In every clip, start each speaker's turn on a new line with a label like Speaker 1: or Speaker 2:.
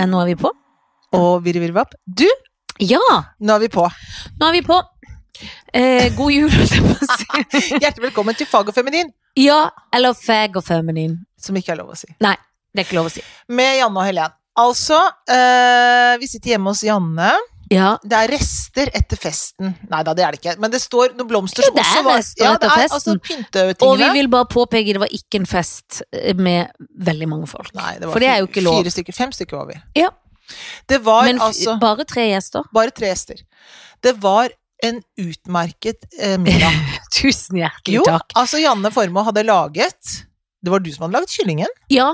Speaker 1: Eh, Nå er vi på.
Speaker 2: og virrevirvapp. Du,
Speaker 1: Ja,
Speaker 2: nå er vi på.
Speaker 1: nå er vi på. Eh, god jul, holdt jeg på å si.
Speaker 2: Hjertelig velkommen til Fag og feminin,
Speaker 1: Ja, eller fag og feminin.
Speaker 2: som ikke er lov å si.
Speaker 1: Nei, det er ikke lov å si.
Speaker 2: Med Janne og Helen. Altså, eh, vi sitter hjemme hos Janne.
Speaker 1: Ja,
Speaker 2: Det er rester etter festen. Nei da, det er det ikke. Men det står noen blomster
Speaker 1: Jo,
Speaker 2: som
Speaker 1: det er
Speaker 2: også var
Speaker 1: rester etter
Speaker 2: det er
Speaker 1: festen.
Speaker 2: Altså pyntetingene.
Speaker 1: og vi vil bare påpeke det var ikke en fest eh, med veldig mange folk.
Speaker 2: Nei, det var
Speaker 1: For det er jo ikke lov.
Speaker 2: Fire stykker, fem stykker var vi.
Speaker 1: Ja.
Speaker 2: Det var
Speaker 1: Men f
Speaker 2: altså
Speaker 1: bare tre gjester.
Speaker 2: bare tre gjester. Det var en utmerket eh, middag.
Speaker 1: Tusen hjertelig
Speaker 2: Jo,
Speaker 1: takk.
Speaker 2: altså Janne Formoe hadde laget Det var du som hadde laget kyllingen.
Speaker 1: Ja,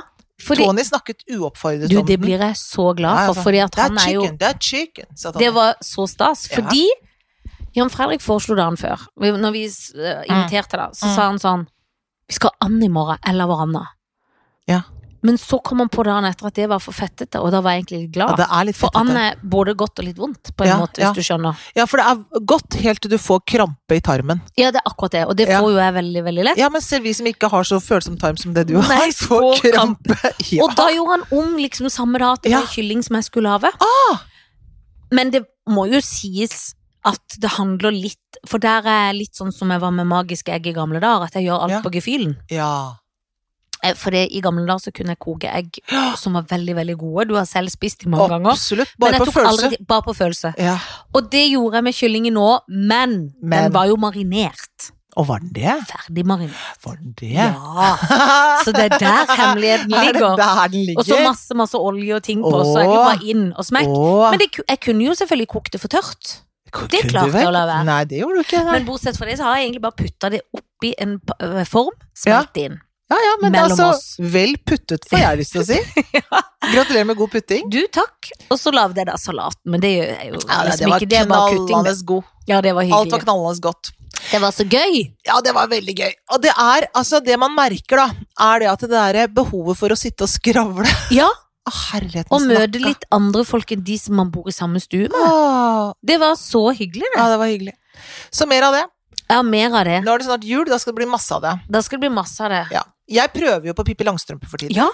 Speaker 1: fordi
Speaker 2: Tony snakket uoppfordret
Speaker 1: Du,
Speaker 2: om
Speaker 1: det
Speaker 2: den.
Speaker 1: blir jeg så
Speaker 2: Ja,
Speaker 1: glad
Speaker 2: altså,
Speaker 1: for, fordi at
Speaker 2: det er
Speaker 1: han er jo
Speaker 2: chicken, det er chicken, sa Tony.
Speaker 1: Det var så stas,
Speaker 2: Ja.
Speaker 1: fordi Jan Fredrik foreslo dagen før. Vi- Når vi eh, inviterte, da, så
Speaker 2: Mm.
Speaker 1: sa han sånn Vi skal ha and i morgen, eller hverandre.
Speaker 2: Ja.
Speaker 1: Men så kom han på dagen etter at det var for fettete, og da var jeg egentlig litt
Speaker 2: ja,
Speaker 1: glad.
Speaker 2: det er litt
Speaker 1: for
Speaker 2: fettete.
Speaker 1: and er både godt og litt vondt, på en
Speaker 2: Ja,
Speaker 1: måte, hvis
Speaker 2: ja.
Speaker 1: du skjønner.
Speaker 2: Ja, for det er godt helt til du får krampe i tarmen.
Speaker 1: Ja, det er akkurat det, og det
Speaker 2: Ja.
Speaker 1: får jo jeg veldig, veldig lett.
Speaker 2: Ja, men selv vi som ikke har så følsom tarm som det du har,
Speaker 1: Nei,
Speaker 2: får
Speaker 1: får
Speaker 2: krampe. Ja.
Speaker 1: Og da gjorde han om liksom samme dag til
Speaker 2: Ja.
Speaker 1: ja. kylling som jeg skulle lage.
Speaker 2: Ah!
Speaker 1: Men det må jo sies at det handler litt For der er jeg litt sånn som jeg var med Magiske egg i gamle dager, at jeg gjør alt
Speaker 2: Ja.
Speaker 1: på gefühlen.
Speaker 2: ja.
Speaker 1: Eh, For det, i gamle dager så kunne jeg koke egg
Speaker 2: Ja.
Speaker 1: som var veldig, veldig gode. Du har selv spist de mange ganger.
Speaker 2: Absolutt.
Speaker 1: Men
Speaker 2: Bare
Speaker 1: jeg
Speaker 2: på
Speaker 1: tok
Speaker 2: følelse.
Speaker 1: aldri- bare på følelse.
Speaker 2: Ja.
Speaker 1: Og det gjorde jeg med kyllingen nå, men,
Speaker 2: Men.
Speaker 1: den var jo marinert.
Speaker 2: Og var den det?
Speaker 1: Ferdig marinert.
Speaker 2: Var den det?
Speaker 1: Ja. Så det er der hemmeligheten
Speaker 2: Er det
Speaker 1: ligger.
Speaker 2: der den ligger?
Speaker 1: Og så masse, masse olje og ting på, så er det
Speaker 2: Åh.
Speaker 1: bare inn og smekk.
Speaker 2: Åh,
Speaker 1: Men det, ku- jeg kunne jo selvfølgelig kokt det for tørt.
Speaker 2: kunne
Speaker 1: det
Speaker 2: du
Speaker 1: klarte jeg å
Speaker 2: vel?
Speaker 1: la være.
Speaker 2: Nei, det gjorde du ikke. Nei.
Speaker 1: Men bortsett fra det, så har jeg egentlig bare putta det oppi en p- øh, form, smelt det inn.
Speaker 2: ja, ja, men det er
Speaker 1: mellom
Speaker 2: altså
Speaker 1: oss.
Speaker 2: vel puttet, får jeg lyst til å si. Gratulerer med god putting.
Speaker 1: Du, takk. Og så lagde jeg da salat, men det gjør jeg jo
Speaker 2: Ja, det,
Speaker 1: liksom
Speaker 2: var
Speaker 1: ikke. Det er bare kutting.
Speaker 2: knallende
Speaker 1: det.
Speaker 2: god.
Speaker 1: Ja, det var
Speaker 2: Alt
Speaker 1: hyggelig.
Speaker 2: var knallende godt.
Speaker 1: Det var så gøy.
Speaker 2: Ja, det var veldig gøy. Og det er, altså, det man merker da, er det at det der behovet for å sitte og skravle
Speaker 1: Ja,
Speaker 2: Å, herligheten
Speaker 1: og møte
Speaker 2: snakka.
Speaker 1: litt andre folk enn de som man bor i samme stue med.
Speaker 2: Åh,
Speaker 1: Det var så hyggelig,
Speaker 2: Ja,
Speaker 1: det.
Speaker 2: det var hyggelig. Så mer av det.
Speaker 1: Ja, mer av det.
Speaker 2: Nå er det snart jul, da skal det bli masse av det.
Speaker 1: Da skal det bli masse av det.
Speaker 2: Ja. Jeg prøver jo på Pippi Langstrømpe for tiden.
Speaker 1: Ja,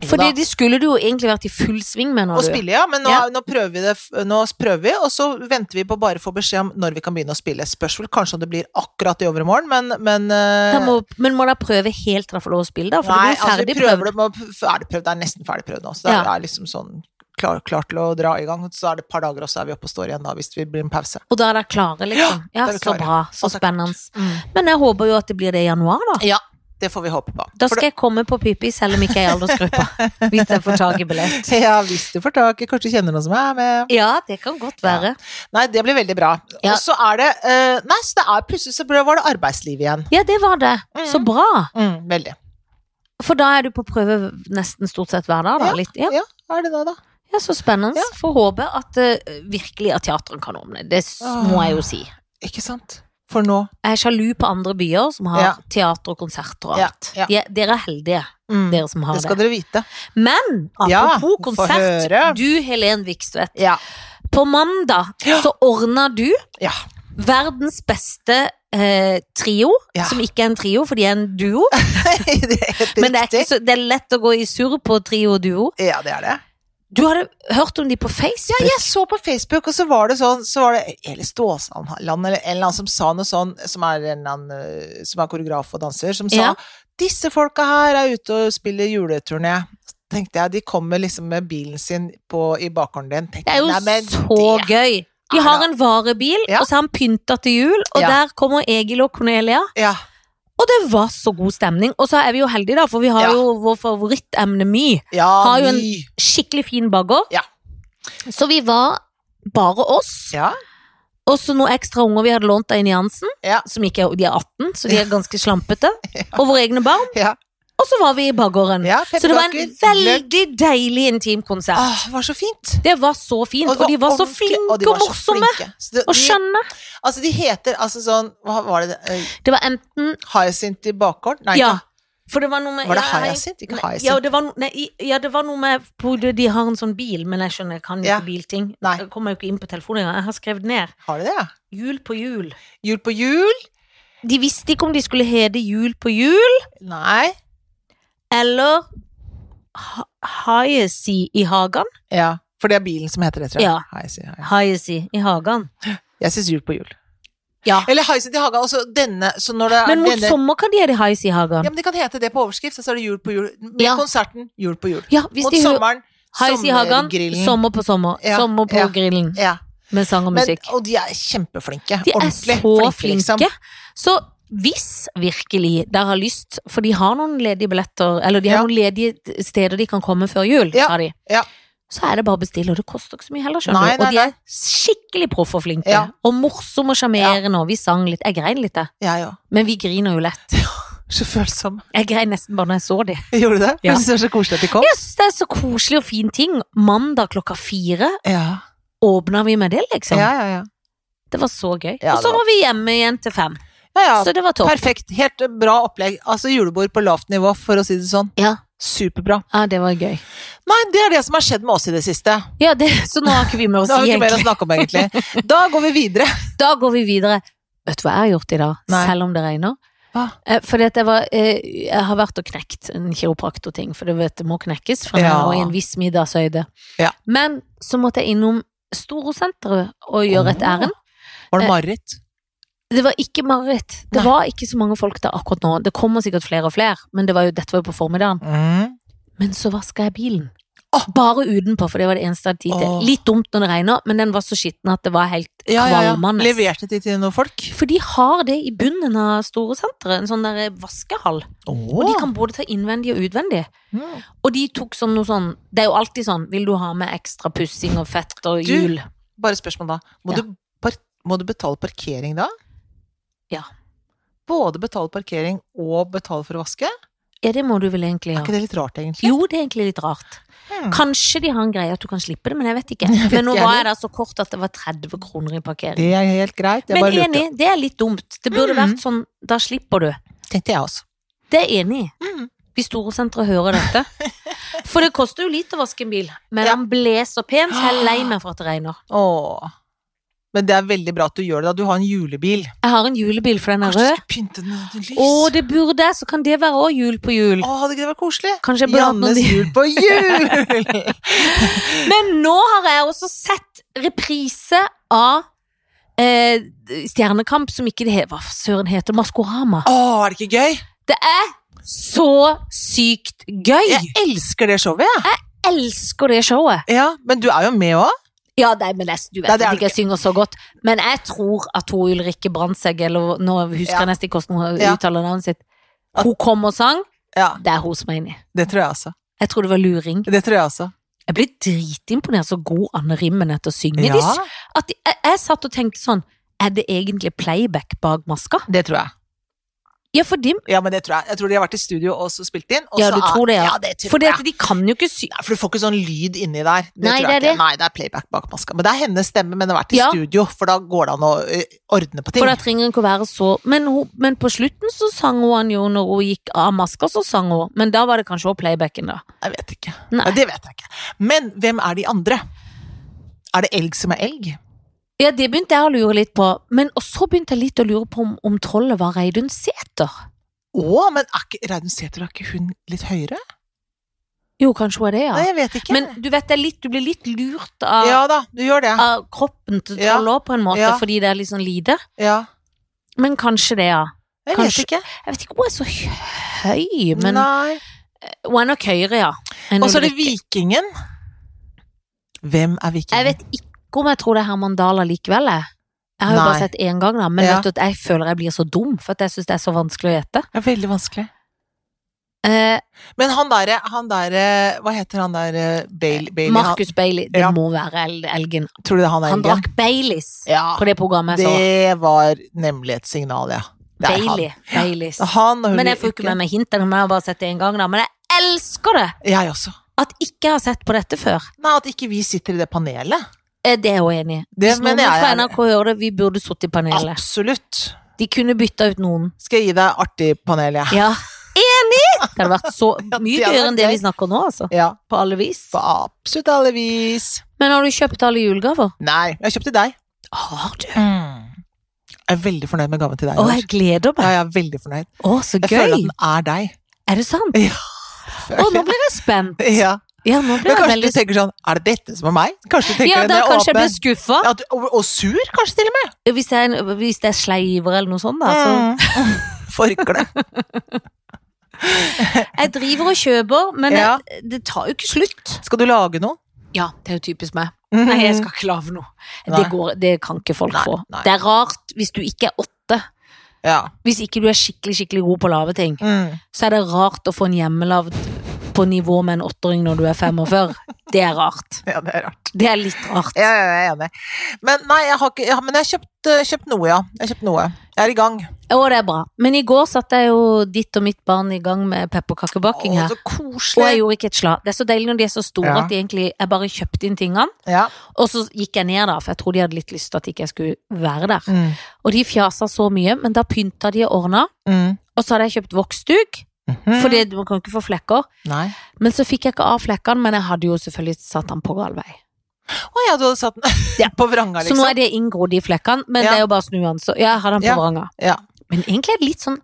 Speaker 2: Jo
Speaker 1: for
Speaker 2: da.
Speaker 1: det skulle du jo egentlig vært i full sving med
Speaker 2: Å
Speaker 1: når du
Speaker 2: spille, ja, men nå,
Speaker 1: Ja.
Speaker 2: nå prøver vi det, f- nå prøver vi, og så venter vi på bare å få beskjed om når vi kan begynne å spille. Spørs vel kanskje om det blir akkurat i overmorgen, men, men eh,
Speaker 1: Da må, Men må da prøve helt til du får lov å spille, da? For
Speaker 2: Nei,
Speaker 1: det blir jo
Speaker 2: altså,
Speaker 1: ferdig
Speaker 2: vi prøver
Speaker 1: prøvd.
Speaker 2: det med, å- er det prøvd, det er nesten ferdig prøvd nå, så det
Speaker 1: Ja.
Speaker 2: er liksom sånn klar, klar til å dra i gang, så er det et par dager, og så er vi oppe og står igjen da, hvis det blir en pause.
Speaker 1: Og da er dere klare, liksom.
Speaker 2: Ja, Mm.
Speaker 1: Ja,
Speaker 2: da er vi
Speaker 1: så
Speaker 2: klare.
Speaker 1: bra. Så
Speaker 2: Og så er det
Speaker 1: spennende. Men jeg håper jo at det blir det i januar, da.
Speaker 2: Ja, det får vi håpe på.
Speaker 1: Da
Speaker 2: For
Speaker 1: skal jeg komme på Pippi, selv om ikke jeg er i aldersgruppa. Hvis jeg får tak i billett.
Speaker 2: det- ja, hvis du får tak i, kanskje du kjenner noen som er med.
Speaker 1: Ja, det kan godt være.
Speaker 2: Nei, det blir veldig bra.
Speaker 1: Ja.
Speaker 2: Og så er det, eh, nei, så det er plutselig så var det arbeidsliv igjen.
Speaker 1: Ja, det var det. Så bra.
Speaker 2: Mm, veldig.
Speaker 1: For da er du på prøve nesten stort sett hver dag, da?
Speaker 2: Ja,
Speaker 1: Litt, ja.
Speaker 2: Ja, er det det da?
Speaker 1: ja, så spennende.
Speaker 2: Ja.
Speaker 1: Får håpe at eh, virkelig at teateren kan åpne. Det s-
Speaker 2: Åh.
Speaker 1: må jeg jo si.
Speaker 2: Ikke sant? For nå
Speaker 1: Jeg er sjalu på andre byer som har
Speaker 2: Ja.
Speaker 1: teater og konserter og
Speaker 2: Ja,
Speaker 1: alt.
Speaker 2: ja.
Speaker 1: De- Dere er heldige,
Speaker 2: mm,
Speaker 1: dere som har
Speaker 2: Det skal
Speaker 1: det.
Speaker 2: dere vite.
Speaker 1: Men
Speaker 2: Ja,
Speaker 1: apropos
Speaker 2: få
Speaker 1: konsert,
Speaker 2: høre.
Speaker 1: du Helen Vikstvedt.
Speaker 2: Ja.
Speaker 1: På mandag så ordna du
Speaker 2: Ja.
Speaker 1: verdens beste eh, trio,
Speaker 2: Ja.
Speaker 1: som ikke er en trio, for de er en duo.
Speaker 2: det er helt
Speaker 1: Men det er,
Speaker 2: riktig.
Speaker 1: ikke så, det er lett å gå i surr på trio og duo.
Speaker 2: Ja, det er det.
Speaker 1: Du hadde hørt om de på Facebook?
Speaker 2: Jeg så på Facebook, og så var det sånn så var det Eli Ståsland eller en eller annen som sa noe sånn, som er, en eller annen, øh, som er koreograf og danser, som sa
Speaker 1: Ja.
Speaker 2: disse folka her er ute og spiller juleturné. Så tenkte jeg, De kommer liksom med bilen sin på, i bakgården din. Tenkte,
Speaker 1: Det er jo
Speaker 2: jeg, men
Speaker 1: så
Speaker 2: det-
Speaker 1: gøy. De
Speaker 2: er
Speaker 1: har
Speaker 2: da-
Speaker 1: en varebil,
Speaker 2: Ja.
Speaker 1: og så har han pynta til jul, og
Speaker 2: Ja.
Speaker 1: der kommer Egil og Cornelia.
Speaker 2: Ja,
Speaker 1: Og det var så god stemning. Og så er vi jo heldige, da, for vi har
Speaker 2: Ja.
Speaker 1: jo vår favorittemne My.
Speaker 2: ja
Speaker 1: Har jo en-
Speaker 2: ny.
Speaker 1: Skikkelig fin bagger.
Speaker 2: Ja.
Speaker 1: Så vi var bare oss,
Speaker 2: Ja,
Speaker 1: og så noen ekstra unger vi hadde lånt av Ine Jansen.
Speaker 2: Ja.
Speaker 1: Som ikke er, de er 18, så de er ganske slampete. Og våre egne barn.
Speaker 2: ja,
Speaker 1: Og så var vi i baggården.
Speaker 2: ja,
Speaker 1: Så det var en
Speaker 2: pepperkaker, løk.
Speaker 1: veldig deilig intim konsert.
Speaker 2: Åh, det var så fint.
Speaker 1: Det var så fint, og, de var så
Speaker 2: ordentlig-
Speaker 1: flinke og,
Speaker 2: de var så
Speaker 1: morsomme
Speaker 2: flinke. Så det-
Speaker 1: og
Speaker 2: de-
Speaker 1: skjønne.
Speaker 2: Altså, de heter altså sånn Hva var det? eh,
Speaker 1: Det var enten
Speaker 2: Hyacinth i bakgård? Nei,
Speaker 1: Ja.
Speaker 2: ikke.
Speaker 1: For det var noe med
Speaker 2: var det
Speaker 1: ja,
Speaker 2: Hyacinth? Ikke
Speaker 1: Nei,
Speaker 2: Hyacinth.
Speaker 1: ja, det var, no- nei, i- ja, det var noe med hvor de de har en sånn bil, men jeg skjønner, jeg kan jo
Speaker 2: Ja.
Speaker 1: ikke bilting.
Speaker 2: Nei.
Speaker 1: Jeg kommer jo ikke inn på telefonen engang. Jeg har skrevet ned.
Speaker 2: Har de det, ja?
Speaker 1: Jul på jul.
Speaker 2: Jul på jul?
Speaker 1: De visste ikke om de skulle hete Jul på jul
Speaker 2: Nei.
Speaker 1: eller ha- Haiesi i hagen.
Speaker 2: Ja, for det er bilen som heter det, tror jeg.
Speaker 1: Ja.
Speaker 2: Heisi, ja, ja.
Speaker 1: Haiesi i hagen.
Speaker 2: Jeg syns jul på jul.
Speaker 1: Ja.
Speaker 2: Eller Heisen til hagen, altså denne så når det er
Speaker 1: Men mot
Speaker 2: denne,
Speaker 1: sommer kan de ha det hais i hagen.
Speaker 2: Ja, men det kan hete det på overskrift, så står det jul på jul. Med
Speaker 1: Ja.
Speaker 2: konserten Jul på jul.
Speaker 1: Ja, hvis
Speaker 2: Mot
Speaker 1: de hører
Speaker 2: sommeren,
Speaker 1: hais i hagen,
Speaker 2: sommergrillen.
Speaker 1: sommer på sommer.
Speaker 2: Ja,
Speaker 1: Sommer på
Speaker 2: ja.
Speaker 1: grillen
Speaker 2: Ja.
Speaker 1: med sang og
Speaker 2: Men,
Speaker 1: musikk.
Speaker 2: og de er kjempeflinke.
Speaker 1: De er så
Speaker 2: Ordentlig
Speaker 1: flinke.
Speaker 2: liksom.
Speaker 1: Så hvis virkelig dere har lyst, for de har noen ledige billetter, eller de har
Speaker 2: Ja.
Speaker 1: noen ledige steder de kan komme før jul,
Speaker 2: Ja,
Speaker 1: sa de.
Speaker 2: ja.
Speaker 1: Så er det bare å bestille, og det koster ikke så mye heller, skjønner
Speaker 2: Nei,
Speaker 1: du.
Speaker 2: nei,
Speaker 1: Og de
Speaker 2: nei.
Speaker 1: er skikkelig proffe og flinke.
Speaker 2: Ja.
Speaker 1: Og morsomme og sjarmerende, og vi sang litt. Jeg grein litt, jeg.
Speaker 2: Jeg òg.
Speaker 1: Men vi griner jo lett.
Speaker 2: Så følsom.
Speaker 1: Jeg grein nesten bare når jeg så de.
Speaker 2: Gjorde du det?
Speaker 1: Ja.
Speaker 2: Jeg syns det var så koselig at de kom.
Speaker 1: Jeg synes det er så koselig og fin ting. Mandag klokka fire
Speaker 2: Ja,
Speaker 1: åpna vi med det, liksom.
Speaker 2: ja, ja. ja.
Speaker 1: Det var så gøy.
Speaker 2: Ja,
Speaker 1: og så
Speaker 2: det var-
Speaker 1: var vi hjemme igjen til fem.
Speaker 2: ja, ja.
Speaker 1: Så det var topp.
Speaker 2: Perfekt. Helt eh, bra opplegg. Altså julebord på lavt nivå, for å si det sånn.
Speaker 1: Ja.
Speaker 2: Superbra.
Speaker 1: Ja, det var gøy.
Speaker 2: Nei, det er det som har skjedd med oss i det siste.
Speaker 1: Ja, det, så nå har ikke vi med å
Speaker 2: Det har
Speaker 1: si,
Speaker 2: vi ikke mer å
Speaker 1: egentlig.
Speaker 2: snakke om, egentlig. Da går vi videre.
Speaker 1: Da går vi videre. Vet du hva jeg har gjort i dag,
Speaker 2: Nei.
Speaker 1: selv om det regner?
Speaker 2: Hva?
Speaker 1: Eh, Fordi at jeg, var, eh, jeg har vært og knekt en kiropraktorting, for du vet, det må knekes fra
Speaker 2: Ja.
Speaker 1: og i en viss middagshøyde.
Speaker 2: Ja.
Speaker 1: Men så måtte jeg innom Storosenteret og gjøre et
Speaker 2: Åh.
Speaker 1: ærend.
Speaker 2: Var det mareritt?
Speaker 1: Det var ikke mareritt. Det
Speaker 2: Nei.
Speaker 1: var ikke så mange folk der akkurat nå. Det kommer sikkert flere og flere, men det var jo, dette var jo på formiddagen.
Speaker 2: Mm.
Speaker 1: Men så vaska jeg bilen.
Speaker 2: Åh.
Speaker 1: Bare utenpå, for det var det eneste jeg hadde tid til.
Speaker 2: Åh.
Speaker 1: Litt dumt når det regner, men den var så skitten at det var helt
Speaker 2: Ja, ja, ja.
Speaker 1: kvalmende.
Speaker 2: Leverte de til noen folk?
Speaker 1: For de har det i bunnen av store senteret, en sånn der vaskehall. Og de kan både ta innvendig og utvendig.
Speaker 2: Mm.
Speaker 1: Og de tok sånn noe sånn Det er jo alltid sånn, vil du ha med ekstra pussing og fett og
Speaker 2: Du-
Speaker 1: hjul?
Speaker 2: Bare spørsmål, da. Må,
Speaker 1: Ja.
Speaker 2: du par må du betale parkering da?
Speaker 1: Ja.
Speaker 2: Både betale parkering og betale for å vaske?
Speaker 1: Ja, det må du vel egentlig
Speaker 2: Er
Speaker 1: ha.
Speaker 2: ikke det litt rart, egentlig?
Speaker 1: Jo, det er egentlig litt rart.
Speaker 2: Hmm.
Speaker 1: Kanskje de har en greie at du kan slippe det, men jeg vet ikke.
Speaker 2: vet
Speaker 1: men nå
Speaker 2: ikke
Speaker 1: var jeg
Speaker 2: heller.
Speaker 1: der så kort at det var 30 kroner i parkering.
Speaker 2: Det er helt greit. Jeg
Speaker 1: men
Speaker 2: bare lurte.
Speaker 1: enig, det er litt dumt. Det burde
Speaker 2: Mm.
Speaker 1: vært sånn, da slipper du.
Speaker 2: Tenkte jeg også.
Speaker 1: Det er enig.
Speaker 2: Mm.
Speaker 1: Hvis Storosenteret hører dette. For det koster jo litt å vaske en bil, men
Speaker 2: Ja.
Speaker 1: han ble så pen, så jeg er lei meg for at det regner.
Speaker 2: Åh. Men det er veldig bra at du gjør det. da. Du har en julebil.
Speaker 1: Jeg har en julebil, for den er
Speaker 2: Kanskje du
Speaker 1: rød.
Speaker 2: skulle pynte den med sånn lys?
Speaker 1: Å, det burde jeg, så kan det være òg jul på jul.
Speaker 2: Åh, hadde ikke det vært koselig?
Speaker 1: Kanskje jeg burde hatt noen
Speaker 2: Jannes jul på jul!
Speaker 1: Men nå har jeg også sett reprise av eh, Stjernekamp, som ikke det he- Hva søren heter Maskorama.
Speaker 2: Åh, er det ikke gøy?
Speaker 1: Det er så sykt gøy!
Speaker 2: Jeg elsker det showet, jeg.
Speaker 1: Jeg elsker det showet.
Speaker 2: Ja. men du er jo med òg.
Speaker 1: Ja, nei, men jeg, du vet
Speaker 2: Nei, det er
Speaker 1: at
Speaker 2: det
Speaker 1: ikke jeg synger så godt, men jeg tror at hun Ulrikke Brandsegg, eller nå husker
Speaker 2: Ja.
Speaker 1: jeg nesten ikke hvordan hun
Speaker 2: Ja.
Speaker 1: uttaler navnet sitt,
Speaker 2: At-
Speaker 1: hun kom og sang,
Speaker 2: Ja,
Speaker 1: det er hun som er inni.
Speaker 2: det tror jeg altså.
Speaker 1: Jeg tror det var luring.
Speaker 2: Det tror jeg altså.
Speaker 1: Jeg ble dritimponert så god Anne Rimmen er til å synge. De
Speaker 2: Ja,
Speaker 1: s- at de, jeg, jeg satt og tenkte sånn, er det egentlig playback bak maska?
Speaker 2: det tror jeg.
Speaker 1: Ja, for, de,
Speaker 2: Ja, men det tror jeg. Jeg tror de har vært i studio og så spilt inn. Og
Speaker 1: Ja,
Speaker 2: så
Speaker 1: du
Speaker 2: er-
Speaker 1: tror det, ja.
Speaker 2: ja. det tror
Speaker 1: for det
Speaker 2: jeg.
Speaker 1: at de kan jo ikke sy...
Speaker 2: Nei, for du får ikke sånn lyd inni der. Det
Speaker 1: Nei,
Speaker 2: tror jeg
Speaker 1: det er
Speaker 2: ikke. Nei, det er playback bak maska. Men det er hennes stemme, men det har vært i
Speaker 1: Ja.
Speaker 2: studio, for da går det an å ø, ordne på ting.
Speaker 1: For da trenger hun ikke å være så men, hun, men på slutten så sang hun han jo Når hun gikk av maska så sang hun Men da var det kanskje også playbacken da
Speaker 2: Jeg vet ikke.
Speaker 1: Nei.
Speaker 2: Ja, det vet jeg ikke. Men hvem er de andre? Er det elg som er elg?
Speaker 1: Ja, det begynte jeg å lure litt på. Men og så begynte jeg litt å lure på om, om trollet var Reidun Sæther.
Speaker 2: Å, men er ikke Reidun Sæther, er ikke hun litt høyere?
Speaker 1: Jo, kanskje hun er det, ja.
Speaker 2: Nei, jeg vet ikke.
Speaker 1: Men ah, du vet, det er litt, du blir litt lurt av,
Speaker 2: ja da, du gjør det.
Speaker 1: av kroppen til
Speaker 2: Ja.
Speaker 1: trollet òg, på en måte,
Speaker 2: Ja.
Speaker 1: fordi det er litt sånn lite.
Speaker 2: Ja.
Speaker 1: Men kanskje det, ja.
Speaker 2: Jeg
Speaker 1: Kanskje-
Speaker 2: vet ikke.
Speaker 1: Jeg vet ikke, hun er så høy, men
Speaker 2: Nei.
Speaker 1: hun er nok høyere, ja. enn
Speaker 2: Og så er det
Speaker 1: Ulrikke.
Speaker 2: vikingen. Hvem er
Speaker 1: Jeg
Speaker 2: vikingen?
Speaker 1: vet ikke om jeg tror det er Herman Dahl allikevel, jeg. Jeg har jo bare
Speaker 2: Nei.
Speaker 1: sett én gang, da, men
Speaker 2: Ja.
Speaker 1: vet du at jeg føler jeg blir så dum, for at jeg syns det er så vanskelig å gjette.
Speaker 2: Det er veldig vanskelig.
Speaker 1: Eh,
Speaker 2: Men han derre han der, eh, Hva heter han derre Bailey? Bailey han,
Speaker 1: Eh, Marcus Bailey, det
Speaker 2: Ja.
Speaker 1: må være El- Elgen.
Speaker 2: tror du det er han er
Speaker 1: Han
Speaker 2: elgen?
Speaker 1: drakk Baileys
Speaker 2: Ja.
Speaker 1: på det programmet jeg så.
Speaker 2: Det var nemlig et signal, ja. Det er
Speaker 1: Bailey. Baileys.
Speaker 2: han. han og hun
Speaker 1: Men jeg får ikke med meg hintene, men jeg har bare sett det en gang, da. Men jeg elsker det!
Speaker 2: Jeg også.
Speaker 1: At ikke jeg har sett på dette før.
Speaker 2: Nei, at ikke vi sitter i det panelet.
Speaker 1: Eh, Det er jeg jo enig i.
Speaker 2: Det
Speaker 1: Hvis noen
Speaker 2: mener jeg
Speaker 1: fra
Speaker 2: er-
Speaker 1: NRK hører det, vi burde sittet i panelet.
Speaker 2: Absolutt.
Speaker 1: De kunne bytta ut noen.
Speaker 2: Skal jeg gi deg artig panel, jeg.
Speaker 1: Ja. Enig! Det hadde vært så
Speaker 2: Ja, det
Speaker 1: mye
Speaker 2: hadde
Speaker 1: gøyere
Speaker 2: vært
Speaker 1: enn det
Speaker 2: gøy.
Speaker 1: vi snakker nå, altså.
Speaker 2: Ja.
Speaker 1: På alle vis.
Speaker 2: På absolutt alle vis.
Speaker 1: Men har du kjøpt alle julegaver?
Speaker 2: Nei, jeg kjøpte deg.
Speaker 1: Har du?
Speaker 2: Mm. Jeg er veldig fornøyd med gaven til deg.
Speaker 1: Å,
Speaker 2: i år.
Speaker 1: jeg gleder
Speaker 2: Ja,
Speaker 1: meg.
Speaker 2: jeg er veldig fornøyd.
Speaker 1: Å, så
Speaker 2: Jeg føler at
Speaker 1: gøy.
Speaker 2: den er deg.
Speaker 1: Er det sant?
Speaker 2: Ja.
Speaker 1: Og nå blir jeg spent.
Speaker 2: Ja.
Speaker 1: Ja, nå
Speaker 2: Men
Speaker 1: blir jeg
Speaker 2: kanskje
Speaker 1: veldig
Speaker 2: du tenker sånn Er det dette som er meg? Kanskje du tenker
Speaker 1: Ja,
Speaker 2: det
Speaker 1: da
Speaker 2: når
Speaker 1: kanskje jeg
Speaker 2: åpner-
Speaker 1: blir skuffa.
Speaker 2: Ja, du- og, og sur, kanskje til og med.
Speaker 1: Hvis det er, en- hvis det er sleiver eller noe sånt, da. Så.
Speaker 2: Mm. Forkle.
Speaker 1: Jeg driver og kjøper, men
Speaker 2: Ja.
Speaker 1: jeg, det tar jo ikke slutt. Mhm.
Speaker 2: Skal du lage noe?
Speaker 1: Ja, det er jo typisk meg. Nei, jeg skal ikke lage noe. Det,
Speaker 2: Nei.
Speaker 1: går, det kan ikke folk
Speaker 2: Nei,
Speaker 1: få.
Speaker 2: nei.
Speaker 1: Det er rart hvis du ikke er åtte.
Speaker 2: Ja.
Speaker 1: Hvis ikke du er skikkelig skikkelig god på å lage ting,
Speaker 2: Mm.
Speaker 1: så er det rart å få en hjemmelavd på nivå med en åtteåring når du er 45. Det er rart.
Speaker 2: ja, det er rart.
Speaker 1: Det er litt rart.
Speaker 2: Ja, ja, jeg er enig. Men nei, jeg har ikke ja, Men jeg har kjøpt, eh, kjøpt noe, ja. Jeg har kjøpt noe. Jeg er i gang.
Speaker 1: Å, det er bra. Men i går satte jeg jo ditt og mitt barn i gang med pepperkakebaking
Speaker 2: Å,
Speaker 1: her.
Speaker 2: så
Speaker 1: Og jeg
Speaker 2: koselig.
Speaker 1: gjorde ikke et slag. Det er så deilig når de er så store
Speaker 2: Ja.
Speaker 1: at de egentlig Jeg bare kjøpte inn tingene,
Speaker 2: Ja.
Speaker 1: og så gikk jeg ned da, for jeg tror de hadde litt lyst til at ikke jeg skulle være der.
Speaker 2: Mm.
Speaker 1: Og de fjasa så mye, men da pynta de og ordna.
Speaker 2: Mm.
Speaker 1: Og så hadde jeg kjøpt voksduk,
Speaker 2: Mhm.
Speaker 1: for man kan ikke få flekker.
Speaker 2: Nei.
Speaker 1: Men så fikk jeg ikke av flekkene, men jeg hadde jo selvfølgelig satt den på gal vei.
Speaker 2: Å ja, du hadde satt den på vranga,
Speaker 1: Så
Speaker 2: liksom.
Speaker 1: nå er det inngrodd i flekkene, men
Speaker 2: Ja.
Speaker 1: det er jo bare å snu den. Så ja, jeg har den på
Speaker 2: Ja.
Speaker 1: vranga.
Speaker 2: Ja.
Speaker 1: Men egentlig er det litt sånn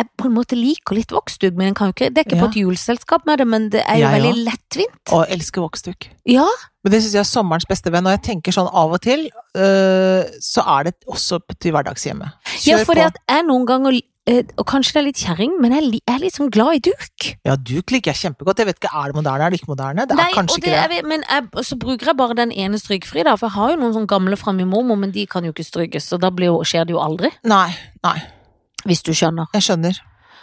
Speaker 1: jeg på en måte liker litt voksduk, men jeg kan jo ikke, det er ikke på
Speaker 2: Ja.
Speaker 1: et juleselskap med det, men det er jo
Speaker 2: Jeg
Speaker 1: veldig lettvint.
Speaker 2: Og elsker voksduk.
Speaker 1: Ja,
Speaker 2: Men det syns jeg er sommerens beste venn, og jeg tenker sånn av og til, øh, så er det også til hverdagshjemmet.
Speaker 1: ja
Speaker 2: Kjør
Speaker 1: for
Speaker 2: på.
Speaker 1: at jeg noen ganger, eh, og kanskje det er litt kjerring, men jeg li- jeg er litt sånn glad i duk.
Speaker 2: Ja, duk liker jeg kjempegodt. Jeg vet ikke, er det moderne, er det ikke moderne? Det er
Speaker 1: Nei, og
Speaker 2: kanskje
Speaker 1: det,
Speaker 2: ikke det.
Speaker 1: jeg vet- men jeg, og så bruker jeg bare den ene strykfri, da, for jeg har jo noen sånne gamle fra min mormor, men de kan jo ikke strykes, så da blir jo, skjer det jo aldri,
Speaker 2: Nei, nei,
Speaker 1: hvis du skjønner.
Speaker 2: jeg skjønner.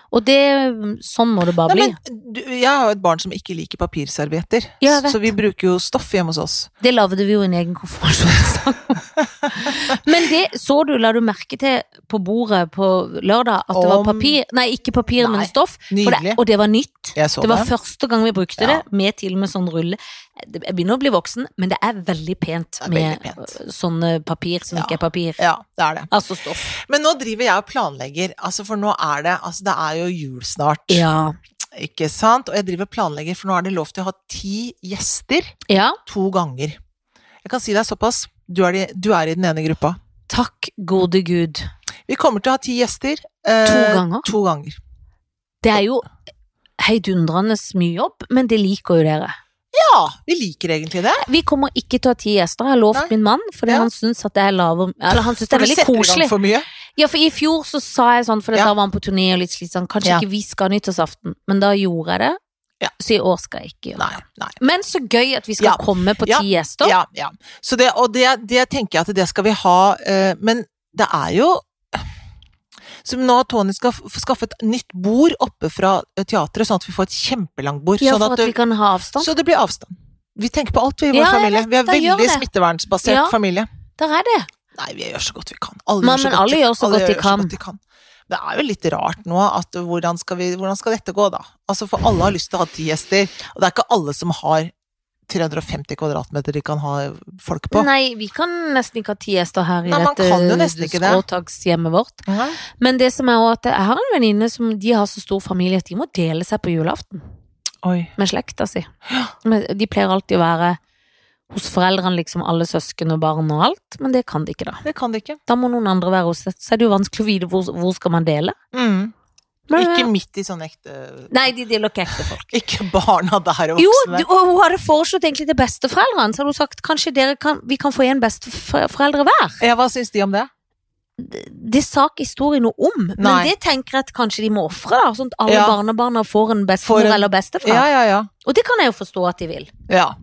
Speaker 1: Og det, sånn må det bare
Speaker 2: Nei,
Speaker 1: bli.
Speaker 2: men du, jeg har jo et barn som ikke liker papirservietter,
Speaker 1: Ja, jeg vet.
Speaker 2: så vi bruker jo stoff hjemme hos oss.
Speaker 1: Det lagde vi jo en egen konfirmasjonssang. men det så du, la du merke til på bordet på lørdag, at det var
Speaker 2: Om-
Speaker 1: papir, nei, ikke papir,
Speaker 2: Nei,
Speaker 1: men stoff, for det,
Speaker 2: nydelig.
Speaker 1: og det var nytt.
Speaker 2: Jeg så
Speaker 1: Det
Speaker 2: det.
Speaker 1: var første gang vi brukte
Speaker 2: Ja.
Speaker 1: det, med til og med sånn rulle. Det- Jeg begynner å bli voksen, men det er veldig pent
Speaker 2: Det er
Speaker 1: med
Speaker 2: veldig pent.
Speaker 1: sånne papir som
Speaker 2: Ja.
Speaker 1: ikke er papir.
Speaker 2: Ja, det er det.
Speaker 1: Altså stoff.
Speaker 2: Men nå driver jeg og planlegger, altså for nå er det altså det er jo jul snart,
Speaker 1: Ja.
Speaker 2: ikke sant? Og jeg driver og planlegger, for nå er det lov til å ha ti gjester
Speaker 1: ja.
Speaker 2: to ganger. Jeg kan si deg såpass, du er, de, du er i den ene gruppa.
Speaker 1: Takk, gode gud.
Speaker 2: Vi kommer til å ha ti gjester. eh,
Speaker 1: To ganger?
Speaker 2: To ganger.
Speaker 1: Det er jo heidundrende mye jobb, men det liker jo dere.
Speaker 2: Ja, vi liker egentlig det.
Speaker 1: Vi kommer ikke til å ha ti gjester, jeg har lovt
Speaker 2: Nei.
Speaker 1: min mann, fordi
Speaker 2: Ja.
Speaker 1: han syns at jeg laver Eller han syns det
Speaker 2: For
Speaker 1: er
Speaker 2: du
Speaker 1: veldig
Speaker 2: setter i gang
Speaker 1: koselig.
Speaker 2: For mye.
Speaker 1: Ja, for i fjor så sa jeg sånn, for
Speaker 2: Ja.
Speaker 1: da var han på turné og litt slitsom, kanskje
Speaker 2: Ja.
Speaker 1: ikke vi skal ha nyttårsaften, men da gjorde jeg det.
Speaker 2: Ja.
Speaker 1: Så i år skal jeg ikke gjøre det.
Speaker 2: Nei, nei.
Speaker 1: Men så gøy at vi skal
Speaker 2: Ja.
Speaker 1: komme på ti
Speaker 2: Ja.
Speaker 1: gjester.
Speaker 2: Ja, ja. Så det, og det, det tenker jeg at det skal vi ha, eh, men det er jo så nå har Tony skal f- få skaffet nytt bord oppe fra eh, teatret, sånn at vi får et kjempelangt bord.
Speaker 1: Ja,
Speaker 2: sånn
Speaker 1: for at vi
Speaker 2: det-
Speaker 1: kan ha avstand.
Speaker 2: så det blir avstand. Vi tenker på alt, vi i vår
Speaker 1: Ja, jeg
Speaker 2: familie. Vi er
Speaker 1: jeg gjør
Speaker 2: veldig
Speaker 1: det.
Speaker 2: smittevernsbasert
Speaker 1: Ja.
Speaker 2: familie.
Speaker 1: Der er det.
Speaker 2: Nei, vi gjør så godt vi kan. Alle
Speaker 1: Men-
Speaker 2: gjør så
Speaker 1: men
Speaker 2: godt
Speaker 1: alle
Speaker 2: de-
Speaker 1: gjør så godt de
Speaker 2: gjør
Speaker 1: kan.
Speaker 2: Det er jo litt rart nå, at hvordan skal, vi, hvordan skal dette gå da? Altså, for alle har lyst til å ha ti gjester, og det er ikke alle som har 350 kvadratmeter de kan ha folk på.
Speaker 1: Nei, vi kan nesten ikke ha ti gjester her i
Speaker 2: Nei, man
Speaker 1: dette
Speaker 2: kan jo nesten ikke det.
Speaker 1: skråtagshjemmet vårt.
Speaker 2: Mhm.
Speaker 1: Men det som er også at jeg har en venninne som de har så stor familie at de må dele seg på julaften
Speaker 2: Oi.
Speaker 1: med slekta si. Men De pleier alltid å være hos foreldrene, liksom alle søsken og barn og alt, men det kan de ikke da.
Speaker 2: Det kan de ikke.
Speaker 1: Da må noen andre være hos det. Så er det jo vanskelig å vite hvor, hvor skal man dele.
Speaker 2: Mm.
Speaker 1: Men- eh,
Speaker 2: Ikke midt i sånn ekte
Speaker 1: Nei, de deler ikke ekte folk.
Speaker 2: Ikke barna der og
Speaker 1: Jo,
Speaker 2: voksne.
Speaker 1: du- og hun hadde foreslått egentlig til besteforeldrene, så hadde hun sagt kanskje dere kan, vi kan få igjen besteforeldre hver.
Speaker 2: Ja, hva syns de om det?
Speaker 1: det sa ikke historien noe om, men
Speaker 2: Nei.
Speaker 1: det tenker jeg at kanskje de må ofre, da, sånn at alle
Speaker 2: Ja.
Speaker 1: barnebarna får en bestemor
Speaker 2: Får en-
Speaker 1: eller bestefar.
Speaker 2: Ja, ja, ja.
Speaker 1: Og det kan jeg jo forstå at de vil.
Speaker 2: ja.